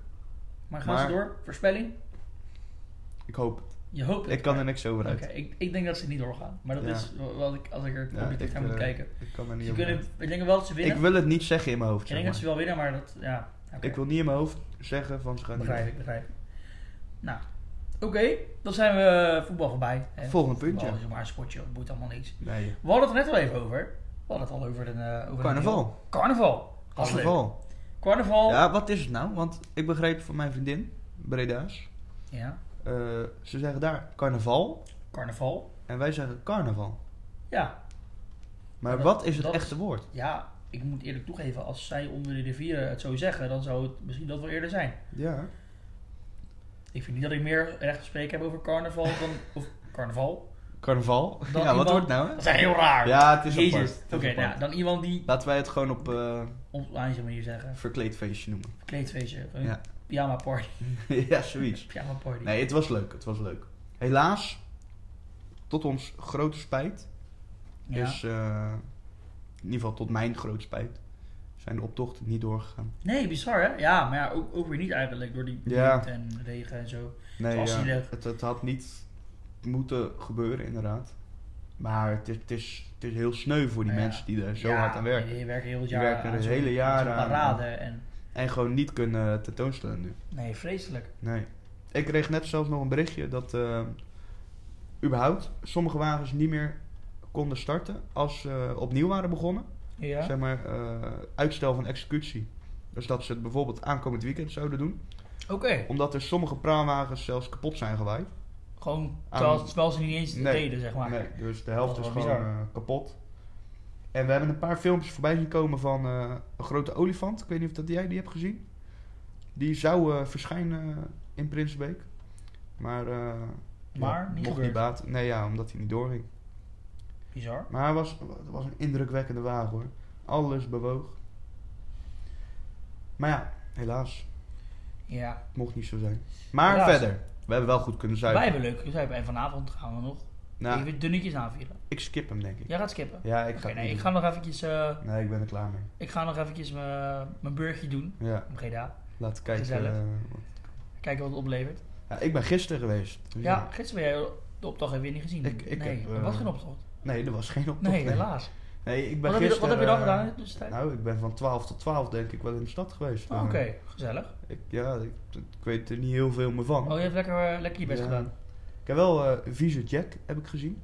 Maar gaan Maar- ze door? Voorspelling? Ik hoop het. Je hoopt het. Ik kan er niks over Oké, uit. ik, ik denk dat ze niet doorgaan. Maar dat Ja. is wa- wat ik, als ik er Ja, objectief ik, naar moet eh, kijken. Ik kan er niet Ze over kunnen, uit. ik denk wel dat ze winnen. Ik Ik, wil het niet zeggen in mijn hoofd. denk zeg dat ze maar. wel winnen, maar dat, ja. oké. Ik wil niet in mijn hoofd zeggen van ze gaan niet Begrijp ik, begrijp ik. Nou, oké, dan zijn we eh, voetbal voorbij. hè. Volgend puntje. Voetbal is maar een sportje, dat boeit allemaal niks. Nee. We hadden het er net al even over. We hadden het al over een... eh, over een Carnaval. heel- Carnaval. Dat is leuk. Carnaval. Carnaval. Ja. Ja, wat is het nou? Want ik begreep van mijn vriendin, Breda's. eh, ze zeggen daar carnaval carnaval. en wij zeggen carnaval. Ja. Maar Dat- wat is het dat- echte woord? ja, ik moet eerlijk toegeven, als zij onder de rivieren het zo zeggen, dan zou het misschien dat wel eerder zijn. Ja. Ik vind niet dat ik meer recht te spreken heb over carnaval dan... Of carnaval. Carnaval. Dan ja, wat iemand- wordt het nou? hè? Dat is echt heel raar. Ja, het is Jezus. apart. Het Oké, is nou, apart. ja, dan iemand die Laten wij het gewoon op eh op een manier zeggen. verkleedfeestje noemen. Kleedfeestje. Een Ja. pyjama party. ja, zoiets. Pyjama party. Nee, het was leuk. Het was leuk. Helaas, tot ons grote spijt, Ja. is eh, in ieder geval tot mijn grote spijt, zijn de optochten niet doorgegaan. Nee, bizar hè? Ja, maar ja, ook, ook weer niet eigenlijk door die Ja. wind en regen en zo. Nee, Het was ja, zielig. het, het had niet moeten gebeuren inderdaad. Maar het is, het is, het is heel sneu voor die Nou ja, mensen die er zo Ja, hard aan werken. Die werken heel het Die jaar werken aan het zo'n- hele jaar aan zo'n aan. parade en... En gewoon niet kunnen tentoonstellen nu. Nee, vreselijk. Nee. Ik kreeg net zelfs nog een berichtje dat eh, überhaupt sommige wagens niet meer konden starten als ze opnieuw waren begonnen. Ja. Zeg maar eh, uitstel van executie. Dus dat ze het bijvoorbeeld aankomend weekend zouden doen. Oké. Omdat er sommige praalwagens zelfs kapot zijn gewaaid. Gewoon, Aan- terwijl, terwijl ze niet eens Nee. deden, zeg maar. Nee, dus de helft Dat is is wel gewoon bizar. eh, kapot. En we hebben een paar filmpjes voorbij zien komen van eh, een grote olifant. Ik weet niet of dat jij die hebt gezien. Die zou eh, verschijnen in Prinsbeek. Maar, eh, Maar ja, niet mocht gebeurd. niet baat. Nee, ja, omdat hij niet doorging. Bizar. Maar het was, het was een indrukwekkende wagen hoor. Alles bewoog. Maar ja, helaas. Ja. Het mocht niet zo zijn. Maar Helaas. verder. We hebben wel goed kunnen zuipen. Wij hebben leuk gezuipen en vanavond gaan we nog Nou, even dunnetjes aanvieren. ik skip hem denk ik. Ja, Jij gaat skippen. ik ga Oké, het nee, niet ik doen. ga nog eventjes, eh, Nee, ik ben er klaar mee. ik ga nog eventjes mijn eh, mijn beurtje doen. Ja, Om Breda. laten kijken. Gezellig. eh, wat- Kijken wat het oplevert. ja, ik ben gisteren geweest. Dus Ja, gisteren ben jij de optocht heb je niet gezien. Ik- ik nee, heb, er eh, was geen optocht. Nee, er was geen optocht. Nee, helaas. Nee, Nee, ik ben Wat, heb je, gisteren, wat heb je dan eh, gedaan in de tussentijd? Nou, ik ben van 12 tot 12 denk ik wel in de stad geweest. Oh, Oké, maar gezellig. Ik, ja, ik, ik weet er niet heel veel meer van. Oh, je hebt lekker, eh, lekker je best Ja. gedaan. Ik heb wel eh Vieze Jack, heb ik gezien.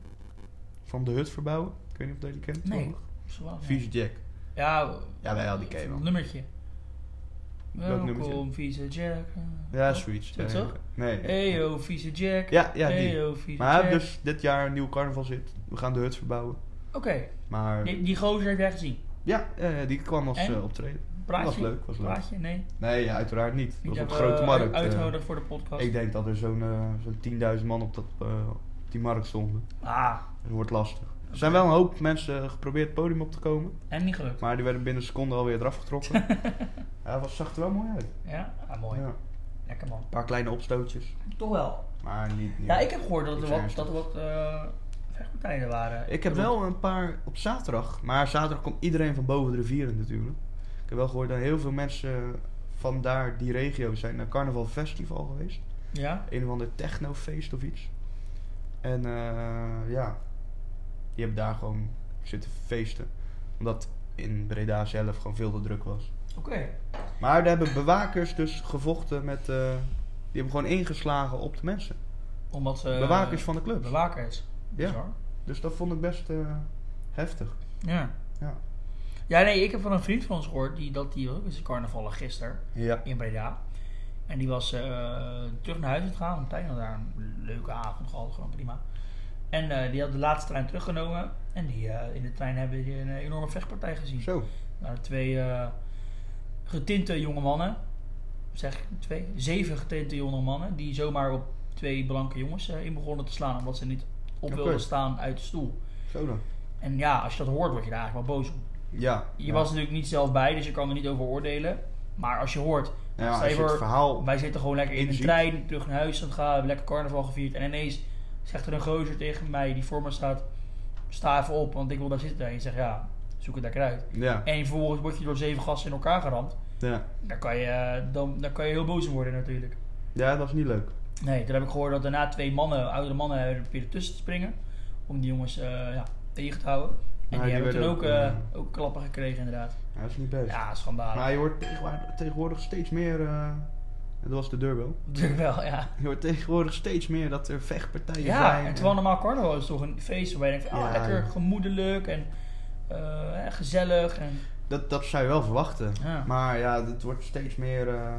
Van de hut verbouwen. Ik weet niet of dat je die kent. Nee. toevallig. Zowel, ja. Vieze Jack. Ja, Ja, wij hadden die cable. Nummertje. Welk nummertje? Welkom, vieze Jack. Ja, Oh, zoiets. Zoiets, Ja, toch? Nee. Hey yo, vieze Jack. Ja, ja, die. hey yo, vieze maar hij Jack. heeft dus dit jaar een nieuw carnaval zit. We gaan de hut verbouwen. Oké, Maar die, die gozer heb jij gezien. ja, eh, die kwam als En? eh, optreden. Praatje? Was leuk, was leuk. Praatje? Nee. Nee, ja, uiteraard niet. Die Dat was op de hebben grote we markt. eh. Uitnodig voor de podcast. ik denk dat er zo'n eh, zo'n 10.000 man op, dat, eh, op die markt stonden. Ah, Dat wordt lastig. Er zijn wel een hoop mensen geprobeerd het podium op te komen. en niet gelukt. Maar die werden binnen een seconde alweer eraf getrokken. ja, dat zag er wel mooi uit. Ja, ah, mooi. Ja. Lekker man. Een paar kleine opstootjes. Toch wel. Maar niet, niet Ja, ik heb gehoord dat er Iets wat, ernstigs. dat er wat eh, vechtpartijen waren. Ik heb wel een paar op zaterdag. Maar zaterdag komt iedereen van boven de rivieren natuurlijk. Ik heb wel gehoord dat heel veel mensen van daar, die regio, zijn naar Carnaval Festival geweest. Ja? Een of ander technofeest of iets. En eh, ja, die hebben daar gewoon zitten feesten. Omdat in Breda zelf gewoon veel te druk was. Oké. Maar daar hebben bewakers dus gevochten met... eh, die hebben gewoon ingeslagen op de mensen. Omdat ze... bewakers van de clubs. Eh, Bewakers. Ja. Bizar. Dus dat vond ik best eh, heftig. Ja. Ja. Ja, nee, ik heb van een vriend van ons gehoord, die, dat die ook is carnavallen gisteren Ja. in Breda. En die was eh, terug naar huis aan het gaan, want Tijn had daar een leuke avond gehad, gewoon prima. En eh, die had de laatste trein teruggenomen. En die, eh, in de trein hebben we een eh, enorme vechtpartij gezien. Zo. Nou, twee eh, getinte jonge mannen. Zeg ik twee? Zeven getinte jonge mannen. Die zomaar op twee blanke jongens eh, in begonnen te slaan. Omdat ze niet op Oké. wilden staan uit de stoel. Zo dan. En ja, als je dat hoort, word je daar eigenlijk wel boos om. Ja. Je ja. was natuurlijk niet zelf bij, dus je kan er niet over oordelen. Maar als je hoort, Nou Stel je ja, als je het voor- verhaal... wij zitten gewoon lekker in een Inziet. trein, terug naar huis aan het gaan, hebben lekker carnaval gevierd. En ineens zegt er een gozer tegen mij die voor me staat, sta even op, want ik wil daar zitten. En je zegt, ja, zoek het lekker uit. Ja. En vervolgens word je door zeven gasten in elkaar geramd. Ja. Daar kan je, eh, dan, daar kan je heel boos om worden natuurlijk. ja, dat is niet leuk. Nee, toen heb ik gehoord dat daarna twee mannen, oudere mannen, hebben proberen tussen te springen. Om die jongens eh, ja, tegen te houden. En Ja, die, die hebben toen werden ook, eh, ook, eh, ook klappen gekregen inderdaad. Ja, dat is niet best. Ja, schandalig. Maar je hoort tegenwa- tegenwoordig steeds meer... eh, Dat was de deurbel. Natuurlijk wel, ja. Je hoort tegenwoordig steeds meer dat er vechtpartijen Ja, zijn. en terwijl normaal carnaval is toch een feest waarbij je denkt, van, ah, Ja, lekker ja. gemoedelijk en eh, gezellig. En, dat, dat zou je wel verwachten. Ja. Maar ja, het wordt steeds meer eh,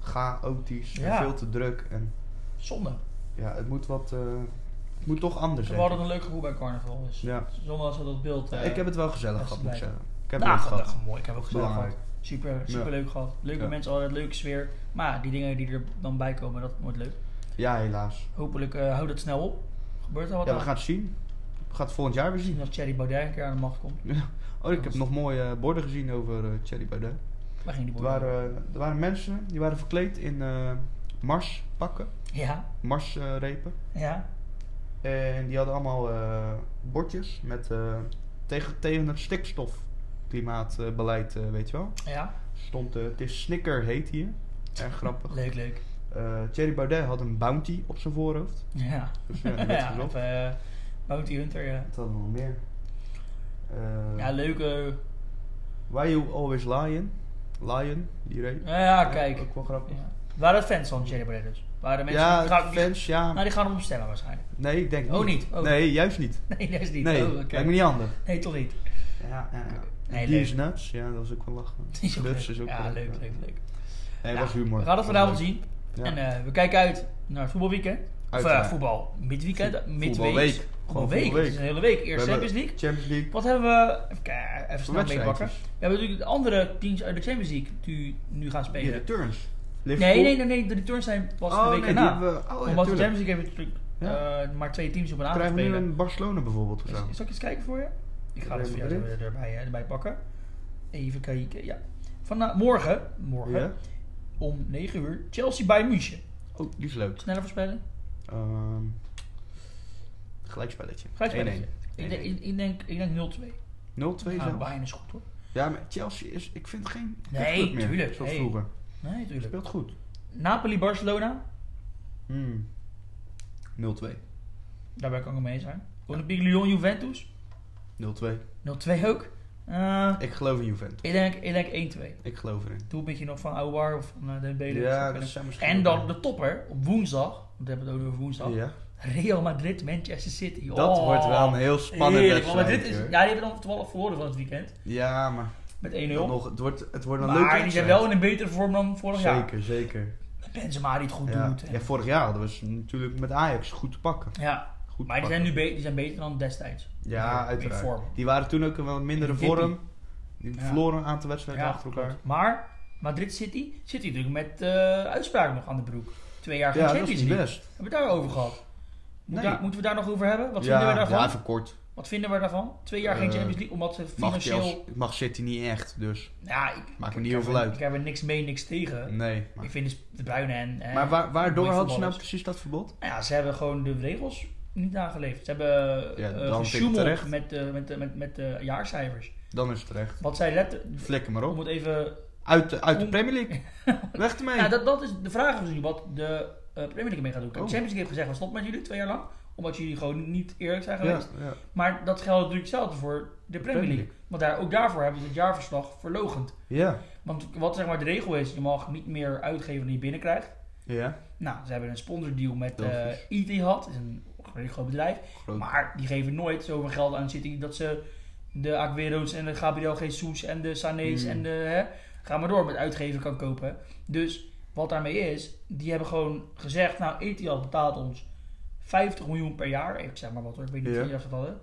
chaotisch en Ja. veel te druk. En zonde. ja, het moet wat... eh, het moet toch anders We hè. hadden een leuk gevoel bij carnaval, dus Ja. zonde als we dat beeld... Ja, eh, Ik heb het wel gezellig dat gehad, is moet ik zeggen. Ik heb nou, het dat gehad. is mooi. Ik heb ook gezellig gehad. Belangrijk. Super, super leuk gehad. Leuke Ja. mensen, altijd leuke sfeer. Maar ja, die dingen die er dan bij komen, dat wordt leuk. Ja, helaas. Hopelijk eh houdt het snel op. Gebeurt er wat Ja, we aan? gaan het zien. We gaan het volgend jaar weer zien. Misschien als Thierry Baudet een keer aan de macht komt. Oh, ik heb nog mooie eh, borden gezien over eh Thierry Baudet. Waar ging die Er boer? waren, eh, er waren mensen die waren verkleed in eh, marspakken, Ja, marsrepen. ja. en die hadden allemaal eh, bordjes met eh, tegen, tegen het stikstofklimaatbeleid, eh, weet je wel. Ja, Stond, eh, het is snicker heet hier. Erg grappig. leuk, leuk. Eh, Thierry Baudet had een bounty op zijn voorhoofd. Ja, Dus ja, dat werd ja gezocht. of eh, Bounty Hunter. Ja, Wat hadden we nog meer? Eh, ja leuke. Why you always lying? Lion, die reep. Ja, ja, kijk. Ook wel grappig. Ja. Waren het fans van Thierry Baudet dus? Waren de mensen Ja, die gaan, die- fans, ja. nou, die gaan hem stemmen waarschijnlijk. Nee, ik denk Oh, niet. niet? Oh. Nee, juist niet. Nee, dat is niet. Nee, Oh, oké. lijkt me niet handig. Nee, toch niet. Ja, ja, ja. Nee, die leuk. is nuts. Ja, dat was ook wel lachen. Die is ook nuts leuk. is ook ja, wel leuk, ja. leuk, leuk. Nee, Ja, was humor. We gaan het Was vanavond leuk. zien. Ja. En eh, we kijken uit naar het voetbalweekend. Of Uiteraard. eh, voetbal midweekend, midweek. voetbalweek. Gewoon Voetbalweek. Dus, eh, Het is een hele voetbalweek. week. Eerst We hebben Champions League. Champions League. Wat hebben we... Even, kijken, even snel Wedstrijdjes. meepakken. We hebben natuurlijk de andere teams uit de Champions League die nu gaan Die spelen. returns. Nee, nee, nee, nee. De returns zijn pas Oh, de nee, week die erna. hebben we... Oh, ja, Omdat de tuurlijk. Champions League heeft natuurlijk Ja. eh, maar twee teams op een avond Krijgen we nu spelen. een Barcelona bijvoorbeeld of Is- zo? Zal ik eens kijken voor je? Ik ga Real het voor jou Madrid. er- erbij, eh, erbij pakken. Even kijken, ja. Vandaag, morgen, morgen Ja? om 9 uur, Chelsea bij München. Oh, die is leuk. Sneller voorspellen? Ehm gelijkspelletje. Gelijkspelletje. 1-1. Ik denk, ik, ik denk, ik denk 0-2. 0-2 Nou, zelfs. bijna is goed hoor. Ja, maar Chelsea is... Ik vind geen... Nee, club meer, tuurlijk. Zoals Hey. vroeger. Nee, tuurlijk. Speelt goed. Napoli-Barcelona, Hmm. 0-2. daarbij kan ik het mee zijn. Olympique Lyon-Juventus, 0-2. 0-2 ook. Eh, Ik geloof in Juventus. ik denk, ik denk 1-2. Ik geloof erin. Doe een beetje nog van Aouar of van eh, Dembele. Ja, dat zijn misschien... En dan de topper op woensdag. Want we hebben het ook over woensdag. Ja. Real Madrid, Manchester City. Dat Oh, wordt wel een heel spannend heerlijk, want wedstrijd. Madrid is, hoor. ja, die hebben dan toevallig verloren van het weekend. Ja, maar Met 1-0. dan nog, het wordt, het wordt een leuke Maar die zijn wel in een betere vorm dan vorig jaar. Zeker, zeker. Benzema die het goed Ja. doet. en- ja, vorig jaar hadden we ze natuurlijk met Ajax goed te pakken. ja. Goed Maar te die zijn pakken. nu be- die zijn beter dan destijds. Ja, Meer uiteraard. vorm. Die waren toen ook in wel een mindere Dippie. vorm. Die Ja. verloren een aantal wedstrijden Ja, achter elkaar. klopt. Maar Madrid City zit hier natuurlijk met eh uitspraak nog aan de broek. Twee jaar geen Ja, dat is Champions niet League. best. Hebben we het daarover gehad? Moet Nee. daar- moeten we daar nog over hebben? Wat vinden ja, we daarvan? ja, even kort. Wat vinden we daarvan? Twee jaar geen Eh, Champions League, omdat ze Mag, Chelsea, financieel... mag City niet echt, dus Ja, ik, maakt me ik niet heel heb veel er- uit. Ik heb er niks mee, niks tegen. Nee. Maar, Ik vind dus de Bruyne en... eh, maar waar, waardoor mooie hadden ze nou voetballers. precies dat verbod? Nou Ja, ze hebben gewoon de regels niet nageleefd. Ze hebben Ja, eh, dan vind ik gesjoemeld terecht. met, de met, de- met, met de jaarcijfers. Dan is het terecht. Wat zij letten... Flikker maar Om op. het even... Uit de, uit de Om- Premier League. Weg ermee. Ja, dat, dat is de vraag misschien wat de eh, Premier League mee gaat doen. Kijk, Oh. De Champions League heeft gezegd, we stoppen met jullie twee jaar lang. Omdat jullie gewoon niet eerlijk zijn geweest. ja, ja. Maar dat geldt natuurlijk hetzelfde voor de Premier League. Want daar, ook daarvoor hebben ze het jaarverslag verlogend. Ja. Want wat zeg maar de regel is, je mag niet meer uitgeven dan je binnenkrijgt. Ja. Nou, ze hebben een sponsordeal met eh Delphus. Etihad, dat is een redelijk groot bedrijf. Groot. Maar die geven nooit zoveel geld aan City dat ze de Aguero's en de Gabriel Jesus en de Sané's Hmm. en de... Hè, ga maar door met uitgeven kan kopen. Dus wat daarmee is, die hebben gewoon gezegd, nou Etihad betaalt ons 50 miljoen per jaar. Ik zeg maar wat hoor, ik weet niet Ja. of ze dat hadden.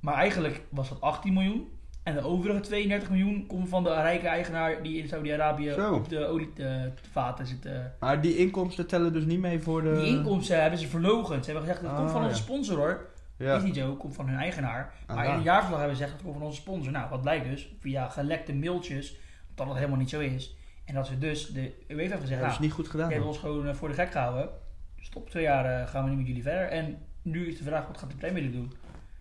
Maar eigenlijk was dat 18 miljoen. En de overige 32 miljoen komt van de rijke eigenaar die in Saudi-Arabië Zo. op de olievaten zit. eh, Maar die inkomsten tellen dus niet mee voor de... die inkomsten hebben ze verlogen. Ze hebben gezegd, dat Ah, komt van onze ja. sponsor hoor. Is Ja. Ah, niet zo, het komt van hun eigenaar. Maar Aha. in een jaarverslag hebben ze gezegd, dat komt van onze sponsor. Nou, wat blijkt dus, via gelekte mailtjes, dat dat helemaal niet zo is. En dat ze dus, de UEFA heeft gezegd, Dat nou, is niet goed je hebt gedaan. ons gewoon eh, voor de gek gehouden. Stop twee jaar, eh, gaan we niet met jullie verder. En nu is de vraag, wat gaat de Premier League doen?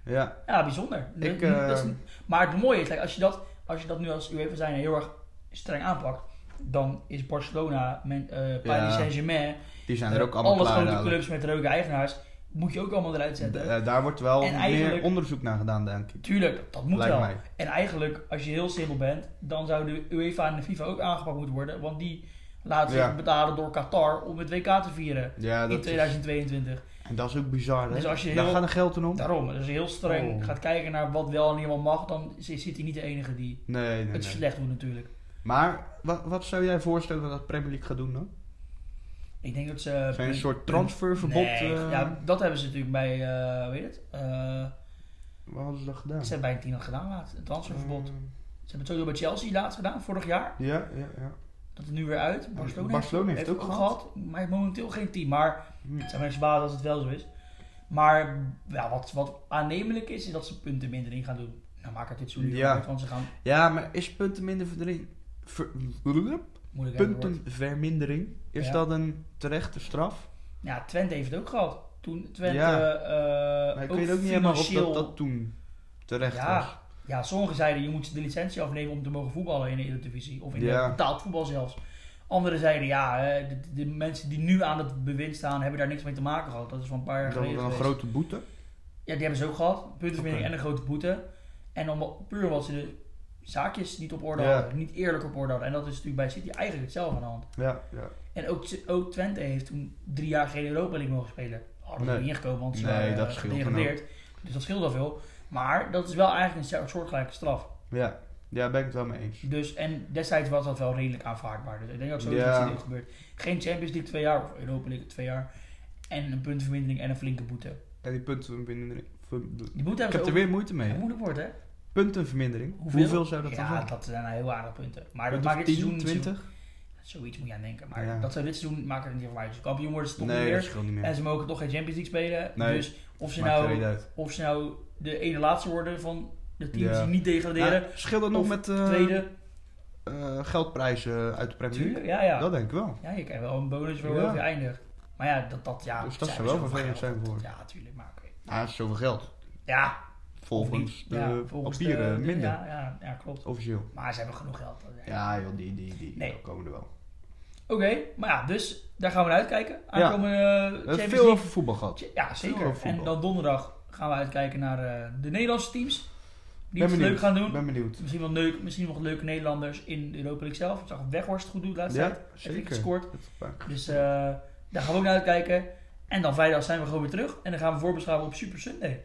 Ja. Ja, bijzonder. Dat- Ik, dat is- eh, maar het mooie is, kijk, als, je dat, als je dat nu als UEFA zijn heel erg streng aanpakt, dan is Barcelona, men, eh, Paris Ja. Saint-Germain, Die zijn er eh, ook allemaal klaar grote dadelijk. clubs met reuke eigenaars, moet je ook allemaal eruit zetten. Da- daar wordt wel En eigenlijk- meer onderzoek naar gedaan, denk ik. Tuurlijk, dat moet Lijkt wel. mij. En eigenlijk, als je heel simpel bent, dan zou de UEFA en de FIFA ook aangepakt moeten worden. Want die laten zich Ja. betalen door Qatar om het WK te vieren Ja, in dat is, 2022. en dat is ook bizar, hè? Dus als je Daar heel- gaat er geld in om? Daarom, dus als je heel streng Oh. gaat kijken naar wat wel en niet helemaal mag, dan is- is hij niet de enige die Nee, nee, het nee. slecht doet natuurlijk. Maar wat, wat zou jij voorstellen dat Premier League gaat doen dan? Ik denk dat ze... eh, Zijn een soort transferverbod? Nee, eh, ja, dat hebben ze natuurlijk bij, eh, weet je het? Eh, Waar hadden ze dat gedaan? ze hebben bij een team dat gedaan laatst, een transferverbod. Ze Eh, hebben het sowieso bij Chelsea laatst gedaan, vorig jaar. ja, ja, ja. Dat is nu weer uit. Barcelona, Barcelona heeft het ook, ook gehad. Maar heeft momenteel geen team. Maar Hm. het zijn mensen baas als het wel zo is. Maar ja, wat, wat aannemelijk is, is dat ze punten minder in gaan doen. Nou maak het dit zo Ja. ja. want ze gaan Ja, maar is puntenmindering... Ver, moeilijk worden. puntenvermindering, is Ja. dat een terechte straf? Ja, Twente heeft het ook gehad. Toen Twente Ja. eh, Maar ik ook weet ook niet helemaal of financieel- dat, dat toen terecht Ja. was. Ja, sommigen zeiden je moet de licentie afnemen om te mogen voetballen in de Eredivisie. Of in Ja. de betaald voetbal zelfs. Anderen zeiden ja, hè, de, de mensen die nu aan het bewind staan hebben daar niks mee te maken gehad. Dat is van een paar jaar Dat was geleden wel een geweest. grote boete. Ja, die hebben ze ook gehad. Puntenvermindering Oké. en een grote boete. En om, puur omdat ze de zaakjes niet op orde Ja. hadden. Niet eerlijk op orde hadden. En dat is natuurlijk bij City eigenlijk hetzelfde aan de hand. Ja, ja. En ook, ook Twente heeft toen drie jaar geen Europa League mogen spelen. Hadden ze Nee. niet ingekomen, want ze Nee, waren, dat eh, scheelt dan gedegradeerd. Dus dat scheelt al veel. Maar dat is wel eigenlijk een soortgelijke straf. Ja, ja ben ik het wel mee eens. Dus, en destijds was dat wel redelijk aanvaardbaar. Dus ik denk dat sowieso Ja. dat dit ook gebeurt. Geen Champions League twee jaar, of Europa League twee jaar. En een puntenvermindering en een flinke boete. En die puntenvermindering... ver- Die boete Ik hebben heb ze er ook... weer moeite mee. Ja, hè? moeilijk wordt, hè? Puntenvermindering. Hoeveel, zou dat dan ja, zijn? dat zijn nou heel aardige punten. Maar dat Punt maakt of dit 10, seizoen... 20? Zoiets moet je aan denken. Maar Ja. dat zou dit seizoen maakt het niet van uit. Als ze kampioen worden ze toch niet Nee, dat meer. scheelt niet meer. En ze mogen toch geen Champions League spelen. Nee, Dus of ze, Maakt er niet nou, uit. of ze nou de ene laatste worden van de teams Ja. die niet degraderen. Nou, scheelt dat nog of met eh, tweede. eh, geldprijzen uit de Premier League? Tuurlijk, ja, ja. Dat denk ik wel. Ja, je krijgt wel een bonus voor Ja. hoe je eindigt. Maar ja, dat, dat, ja, Dus dat zij hebben zou wel zoveel vervelend geld. zijn voor Ja, tuurlijk, maar oké. Ah, dat is zoveel geld. Ja, Volgens niet. de Ja, volgens de- papieren de- minder. Ja, ja, ja, klopt. Officieel. Maar ze hebben genoeg geld. dat- Ja, joh, die, die, die Nee. komen er wel. Oké, maar ja, dus daar gaan we naar uitkijken. Aankomende eh, We Champions hebben League. veel over voetbal gehad. Ja, zeker. over voetbal. En dan donderdag gaan we uitkijken naar eh, de Nederlandse teams. Die het leuk gaan doen. Ben benieuwd. Misschien wel leuk, misschien nog leuke Nederlanders in de Europa League zelf. Ik zag Weghorst goed doen de laatste tijd. Ja, Heeft zeker. lekker gescoord. Dat is waar. Dus eh, daar gaan we ook naar uitkijken. En dan vrijdag zijn we gewoon weer terug. En dan gaan we voorbeschouwen op Super Sunday.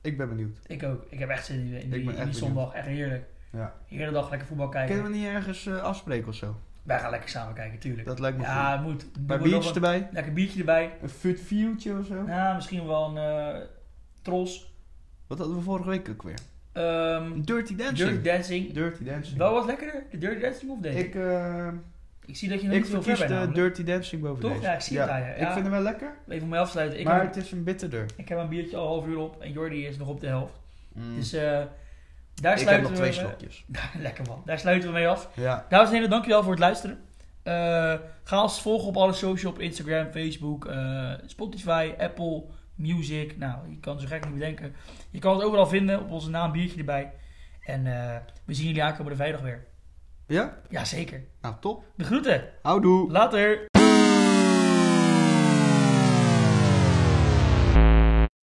Ik ben benieuwd. Ik ook. Ik heb echt zin in die, in die, ben echt in die benieuwd. zondag. Echt heerlijk. Ja. Heerlijke dag lekker voetbal kijken. Kunnen we niet ergens eh, afspreken of zo? Wij gaan lekker samen kijken, tuurlijk. Dat lijkt me ja, goed. het moet. Doen Een paar we nog biertjes een- erbij. Lekker biertje erbij. Een fut viewtje of zo. Nou, misschien wel een eh, tros. Wat hadden we vorige week ook weer? Ehm, Een Dirty Dancing. Dirty Dancing. Dirty Dancing. Wel wat lekkerder, de Dirty Dancing of deze? Ik, Ik, eh, zie dat je nog ik niet veel ver verkies bent de namelijk. Dirty Dancing boven Toch? deze. Ja, ik zie het aan je. Ja. Ik vind hem wel lekker, Even om mij afsluiten. Ik, maar heb, het is een bitterder. ik heb een biertje al half uur op en Jordi is nog op de helft. Mm. Dus eh, daar ik heb sluiten nog twee we... slokjes. Lekker man, daar sluiten we mee af. Ja. Dames en heren, dankjewel voor het luisteren. Eh, ga ons volgen op alle social, op Instagram, Facebook, eh, Spotify, Apple, Music. Nou, je kan het zo gek niet bedenken. Je kan het overal vinden, op onze naam Biertje erbij. En eh, we zien jullie aankomende vrijdag weer. Ja? Jazeker. Nou, top. De groeten. Houdoe. Later.